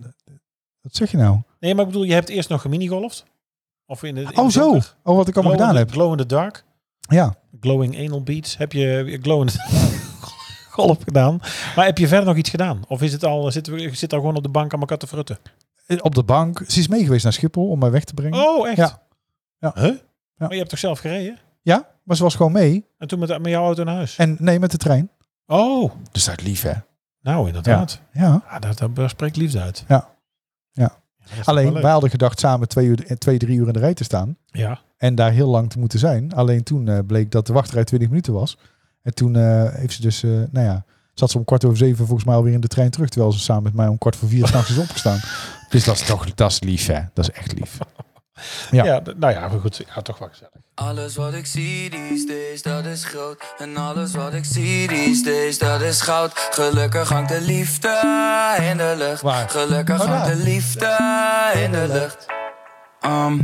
[SPEAKER 2] wat zeg je nou?
[SPEAKER 1] Nee, maar ik bedoel, je hebt eerst nog geminigolfd? Of in het, in
[SPEAKER 2] Oh
[SPEAKER 1] de
[SPEAKER 2] zo!
[SPEAKER 1] donker?
[SPEAKER 2] Oh, wat ik
[SPEAKER 1] Glow in
[SPEAKER 2] allemaal gedaan
[SPEAKER 1] the-
[SPEAKER 2] heb.
[SPEAKER 1] Glow in the dark.
[SPEAKER 2] Ja.
[SPEAKER 1] Glowing anal beats. Heb je glowend golf gedaan? Maar heb je verder nog iets gedaan? Of is het al, zitten we, zit al gewoon op de bank aan elkaar te frutten?
[SPEAKER 2] Op de bank. Ze is mee geweest naar Schiphol om mij weg te brengen.
[SPEAKER 1] Oh, echt?
[SPEAKER 2] Ja. Ja.
[SPEAKER 1] Huh? Maar je hebt toch zelf gereden?
[SPEAKER 2] Ja, maar ze was gewoon mee.
[SPEAKER 1] En toen met, met jouw auto naar huis?
[SPEAKER 2] En nee, met de trein.
[SPEAKER 1] Oh,
[SPEAKER 2] Dus dat is lief, hè?
[SPEAKER 1] nou inderdaad.
[SPEAKER 2] Ja.
[SPEAKER 1] Ja, dat, dat, dat spreekt liefde uit.
[SPEAKER 2] Ja. Ja.
[SPEAKER 1] dat is toch wel
[SPEAKER 2] Alleen,
[SPEAKER 1] leuk.
[SPEAKER 2] wij hadden gedacht samen twee, uur, eh, twee, drie uur in de rij te staan.
[SPEAKER 1] Ja.
[SPEAKER 2] En daar heel lang te moeten zijn. Alleen toen eh, bleek dat de wachtrij 20 minuten was. En toen eh, heeft ze dus, eh, nou ja, zat ze om kwart over zeven volgens mij alweer in de trein terug. Terwijl ze samen met mij om kwart voor vier s'nachts is opgestaan. Dus dat is toch, dat is lief, hè? Dat is echt lief.
[SPEAKER 1] Ja.
[SPEAKER 2] Ja.
[SPEAKER 1] d- nou ja, maar goed. Ja, toch wel gezellig.
[SPEAKER 6] Alles wat ik zie these days, dat is groot. En alles wat ik zie these days, dat is goud. Gelukkig hangt de liefde in de lucht.
[SPEAKER 2] Waar?
[SPEAKER 6] Gelukkig
[SPEAKER 2] Oh,
[SPEAKER 6] hangt
[SPEAKER 2] daar.
[SPEAKER 6] de liefde in de lucht. Ehm,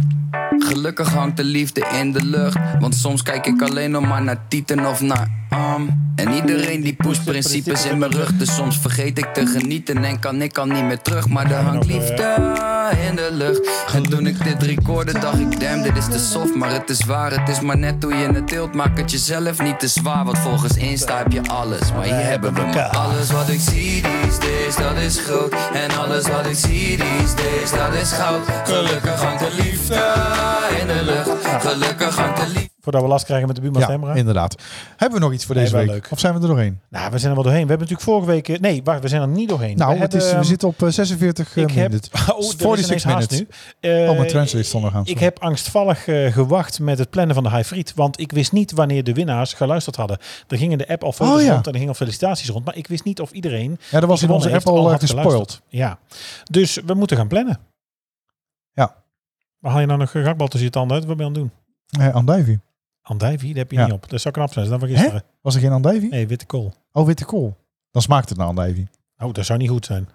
[SPEAKER 6] gelukkig hangt de liefde in de lucht. Want soms kijk ik alleen nog maar naar tieten of naar ehm. En iedereen die poest principes in mijn rug. Dus soms vergeet ik te genieten en kan ik al niet meer terug. Maar er hangt liefde in de lucht. En toen ik dit recorde, dacht ik, damn, dit is te soft. Maar het is waar, het is maar net hoe je het deelt. Maak het jezelf niet te zwaar. Want volgens Insta heb je alles. Maar hier hebben we maar alles wat ik zie these days, dat is groot. En alles wat ik zie these days, dat is goud. Gelukkig hangt de liefde in de lucht. Gelukkig hangt de liefde.
[SPEAKER 1] Voordat we last krijgen met de buurman
[SPEAKER 2] Ja,
[SPEAKER 1] Temra.
[SPEAKER 2] inderdaad. Hebben we nog iets voor
[SPEAKER 1] Nee,
[SPEAKER 2] deze
[SPEAKER 1] wel
[SPEAKER 2] week?
[SPEAKER 1] leuk.
[SPEAKER 2] Of zijn we er doorheen?
[SPEAKER 1] Nou, we zijn er wel doorheen. We hebben natuurlijk vorige week... eh, Nee, wacht, we zijn er niet doorheen.
[SPEAKER 2] Nou,
[SPEAKER 1] we
[SPEAKER 2] het is,
[SPEAKER 1] hebben, ehm,
[SPEAKER 2] we zitten op eh, 46
[SPEAKER 1] Ik heb...
[SPEAKER 2] minuten.
[SPEAKER 1] Oh, er is ineens haast nu. Eh,
[SPEAKER 2] Oh, mijn translate stond nog aan.
[SPEAKER 1] Ik heb angstvallig eh, gewacht met het plannen van de High Fried. Want ik wist niet wanneer de winnaars geluisterd hadden. Er gingen de app al foto's
[SPEAKER 2] Oh, ja.
[SPEAKER 1] rond en er gingen al felicitaties rond. Maar ik wist niet of iedereen...
[SPEAKER 2] Ja, dat was in onze app al eh, gespoild.
[SPEAKER 1] Ja. Dus we moeten gaan plannen.
[SPEAKER 2] Ja.
[SPEAKER 1] Waar haal je nou nog een gakbal tussen je tanden uit? Wat ben je aan het doen?
[SPEAKER 2] Eh, andijvie.
[SPEAKER 1] Andijvie, dat heb je
[SPEAKER 2] Ja.
[SPEAKER 1] niet op. Dat zou knap zijn. Dat is dan van
[SPEAKER 2] Hè?
[SPEAKER 1] gisteren.
[SPEAKER 2] Was er geen andijvie?
[SPEAKER 1] Nee, witte kool.
[SPEAKER 2] Oh, witte kool. Dan smaakt het naar andijvie.
[SPEAKER 1] Oh, dat zou niet goed zijn.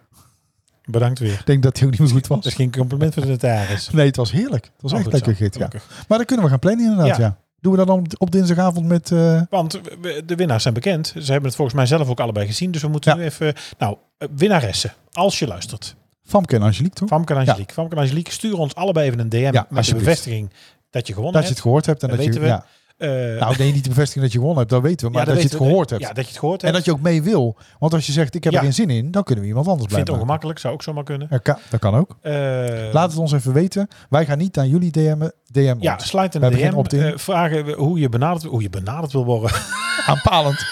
[SPEAKER 1] Bedankt weer.
[SPEAKER 2] Ik denk dat hij ook niet meer goed
[SPEAKER 1] Dat is
[SPEAKER 2] was.
[SPEAKER 1] geen compliment voor de notaris.
[SPEAKER 2] Nee, het was heerlijk. Het was
[SPEAKER 1] Oh,
[SPEAKER 2] echt
[SPEAKER 1] goed zo.
[SPEAKER 2] lekker git, ja.
[SPEAKER 1] Gelukkig.
[SPEAKER 2] Maar dan kunnen we gaan plannen inderdaad,
[SPEAKER 1] Ja.
[SPEAKER 2] ja. Doen we dat dan op- op dinsdagavond met... eh,
[SPEAKER 1] Want we- we- de winnaars zijn bekend. Ze hebben het volgens mij zelf ook allebei gezien. Dus we moeten
[SPEAKER 2] Ja.
[SPEAKER 1] nu even... Nou, eh, winnaressen. Als je luistert.
[SPEAKER 2] Famke en Angelique, toch?
[SPEAKER 1] Famke en Angelique. Famke en Angelique, stuur ons allebei even een DM met de
[SPEAKER 2] alsjeblieft.
[SPEAKER 1] bevestiging dat je gewonnen
[SPEAKER 2] Dat je het gehoord hebt. En
[SPEAKER 1] Dat
[SPEAKER 2] dat je,
[SPEAKER 1] weten we.
[SPEAKER 2] ja.
[SPEAKER 1] hebt. Eh,
[SPEAKER 2] Nou, nee, niet de bevestiging dat je gewonnen hebt, dat weten we.
[SPEAKER 1] ja,
[SPEAKER 2] Maar dat, je
[SPEAKER 1] weten
[SPEAKER 2] het
[SPEAKER 1] we.
[SPEAKER 2] gehoord hebt.
[SPEAKER 1] Ja, dat je het gehoord
[SPEAKER 2] En
[SPEAKER 1] hebt.
[SPEAKER 2] dat je ook mee wil. Want als je zegt, ik heb
[SPEAKER 1] Ja.
[SPEAKER 2] er geen zin in, dan kunnen we iemand anders
[SPEAKER 1] Ik vind
[SPEAKER 2] blijven.
[SPEAKER 1] het ongemakkelijk, zou ook zomaar kunnen.
[SPEAKER 2] Ja, ka- dat kan ook.
[SPEAKER 1] Eh,
[SPEAKER 2] Laat het ons even weten. Wij gaan niet aan jullie DM'en. DM
[SPEAKER 1] ja,
[SPEAKER 2] ons.
[SPEAKER 1] sluit
[SPEAKER 2] We
[SPEAKER 1] een
[SPEAKER 2] hebben geen
[SPEAKER 1] DM.
[SPEAKER 2] opt-in.
[SPEAKER 1] eh, vragen we hoe je benaderd, hoe je benaderd wil worden.
[SPEAKER 2] Aanpalend.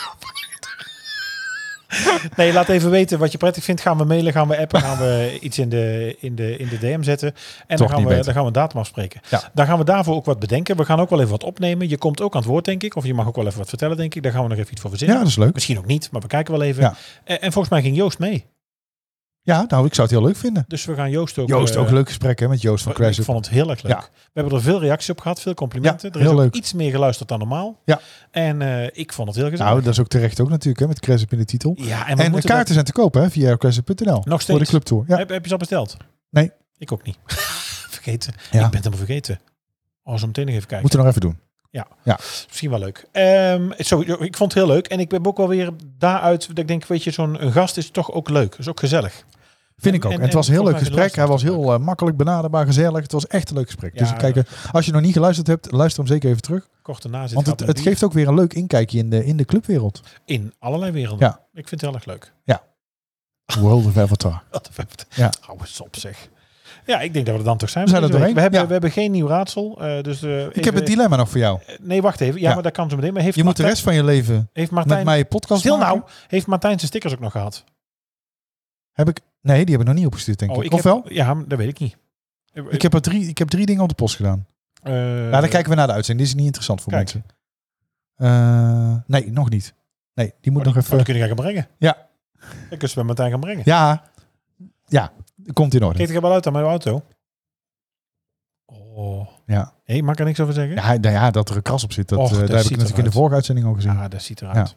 [SPEAKER 1] Nee, laat even weten wat je prettig vindt. Gaan we mailen, gaan we appen, gaan we iets in de, in de, in de DM zetten. En dan
[SPEAKER 2] Toch
[SPEAKER 1] gaan,
[SPEAKER 2] niet
[SPEAKER 1] we,
[SPEAKER 2] beter.
[SPEAKER 1] dan gaan we een datum afspreken.
[SPEAKER 2] Ja.
[SPEAKER 1] Dan gaan we daarvoor ook wat bedenken. We gaan ook wel even wat opnemen. Je komt ook aan het woord, denk ik. Of je mag ook wel even wat vertellen, denk ik. Daar gaan we nog even iets voor verzinnen.
[SPEAKER 2] Ja, dat is leuk.
[SPEAKER 1] Misschien ook niet, maar we kijken wel even.
[SPEAKER 2] Ja.
[SPEAKER 1] En, en volgens mij ging Joost mee.
[SPEAKER 2] Ja, nou, ik zou het heel leuk vinden.
[SPEAKER 1] Dus we gaan Joost ook...
[SPEAKER 2] Joost,
[SPEAKER 1] eh,
[SPEAKER 2] ook leuk gesprek hè, met Joost van Crash.
[SPEAKER 1] Ik vond het heel erg leuk.
[SPEAKER 2] Ja.
[SPEAKER 1] We hebben er veel reacties op gehad, veel complimenten.
[SPEAKER 2] Ja,
[SPEAKER 1] er is
[SPEAKER 2] heel
[SPEAKER 1] ook
[SPEAKER 2] leuk.
[SPEAKER 1] iets meer geluisterd dan normaal.
[SPEAKER 2] Ja.
[SPEAKER 1] En eh, ik vond het heel gezellig.
[SPEAKER 2] Nou, dat is ook terecht ook natuurlijk, hè, met Crash in de titel.
[SPEAKER 1] ja, en we
[SPEAKER 2] En de
[SPEAKER 1] moeten
[SPEAKER 2] kaarten zijn te koop hè, via crash.nl.
[SPEAKER 1] Nog
[SPEAKER 2] Voor de
[SPEAKER 1] steeds.
[SPEAKER 2] clubtour.
[SPEAKER 1] dat-
[SPEAKER 2] Ja.
[SPEAKER 1] Heb, heb je ze al besteld?
[SPEAKER 2] Nee.
[SPEAKER 1] Ik ook niet. vergeten.
[SPEAKER 2] Ja.
[SPEAKER 1] Ik ben het helemaal vergeten. Oh, zo meteen nog even kijken.
[SPEAKER 2] Moeten we nog even doen.
[SPEAKER 1] Misschien wel leuk. Ehm, zo, ik vond het heel leuk. En ik ben ook wel weer daaruit dat ik denk, weet je, zo'n een gast is toch ook leuk. Is ook gezellig.
[SPEAKER 2] Vind ik ook.
[SPEAKER 1] en-
[SPEAKER 2] En, het was een heel
[SPEAKER 1] en
[SPEAKER 2] leuk
[SPEAKER 1] volgens mij
[SPEAKER 2] gesprek. Hij was
[SPEAKER 1] luisteren
[SPEAKER 2] heel eh, makkelijk benaderbaar, gezellig. Het was echt een leuk gesprek. dus
[SPEAKER 1] Ja,
[SPEAKER 2] kijk, eh, als je nog niet geluisterd hebt, luister hem zeker even terug.
[SPEAKER 1] Kort daarna zit
[SPEAKER 2] Want
[SPEAKER 1] Goud
[SPEAKER 2] het,
[SPEAKER 1] en
[SPEAKER 2] het
[SPEAKER 1] Bier
[SPEAKER 2] geeft ook weer een leuk inkijkje in de, in de clubwereld.
[SPEAKER 1] in allerlei werelden.
[SPEAKER 2] Ja.
[SPEAKER 1] Ik vind het heel erg leuk.
[SPEAKER 2] World of Avatar.
[SPEAKER 1] Wat vet.
[SPEAKER 2] Ja.
[SPEAKER 1] Oude sop zeg. Ja, ik denk dat we er dan toch zijn.
[SPEAKER 2] We zijn er
[SPEAKER 1] deze week.
[SPEAKER 2] doorheen,
[SPEAKER 1] We hebben,
[SPEAKER 2] ja.
[SPEAKER 1] we hebben geen nieuw raadsel. eh, dus, eh,
[SPEAKER 2] Ik
[SPEAKER 1] even-
[SPEAKER 2] heb het dilemma nog voor jou.
[SPEAKER 1] Nee, wacht even. Ja,
[SPEAKER 2] Ja.
[SPEAKER 1] maar dat kan zo meteen. Maar heeft
[SPEAKER 2] Je moet de
[SPEAKER 1] Martijn-
[SPEAKER 2] rest van je leven
[SPEAKER 1] Heeft
[SPEAKER 2] met
[SPEAKER 1] Martijn...
[SPEAKER 2] mij een podcast
[SPEAKER 1] Stil nou.
[SPEAKER 2] maken.
[SPEAKER 1] Heeft Martijn zijn stickers ook nog gehad?
[SPEAKER 2] Heb ik, nee, die heb ik nog niet opgestuurd, denk ik.
[SPEAKER 1] Oh, ik
[SPEAKER 2] of
[SPEAKER 1] heb-
[SPEAKER 2] wel?
[SPEAKER 1] Ja, maar dat weet ik niet.
[SPEAKER 2] Ik heb, er drie, ik heb drie dingen op de post gedaan.
[SPEAKER 1] eh,
[SPEAKER 2] Nou, dan kijken we naar de uitzending. Dit is niet interessant voor
[SPEAKER 1] Kijk.
[SPEAKER 2] mensen. Eh, nee, nog niet. Nee, die moet
[SPEAKER 1] Oh,
[SPEAKER 2] nog
[SPEAKER 1] die- oh, die
[SPEAKER 2] even...
[SPEAKER 1] kunnen gaan brengen.
[SPEAKER 2] Ja.
[SPEAKER 1] Dan kunnen ze bij Martijn gaan brengen.
[SPEAKER 2] Ja, ja, komt in orde.
[SPEAKER 1] Geet er wel uit aan mijn auto. Oh.
[SPEAKER 2] Ja.
[SPEAKER 1] Hé, mag ik er niks over zeggen?
[SPEAKER 2] Ja, hij- nou ja, dat er een kras op zit, dat,
[SPEAKER 1] Och,
[SPEAKER 2] eh,
[SPEAKER 1] dat
[SPEAKER 2] daar heb
[SPEAKER 1] ziet
[SPEAKER 2] ik natuurlijk in
[SPEAKER 1] eruit.
[SPEAKER 2] de vorige uitzending al gezien.
[SPEAKER 1] Ah, dat ziet eruit.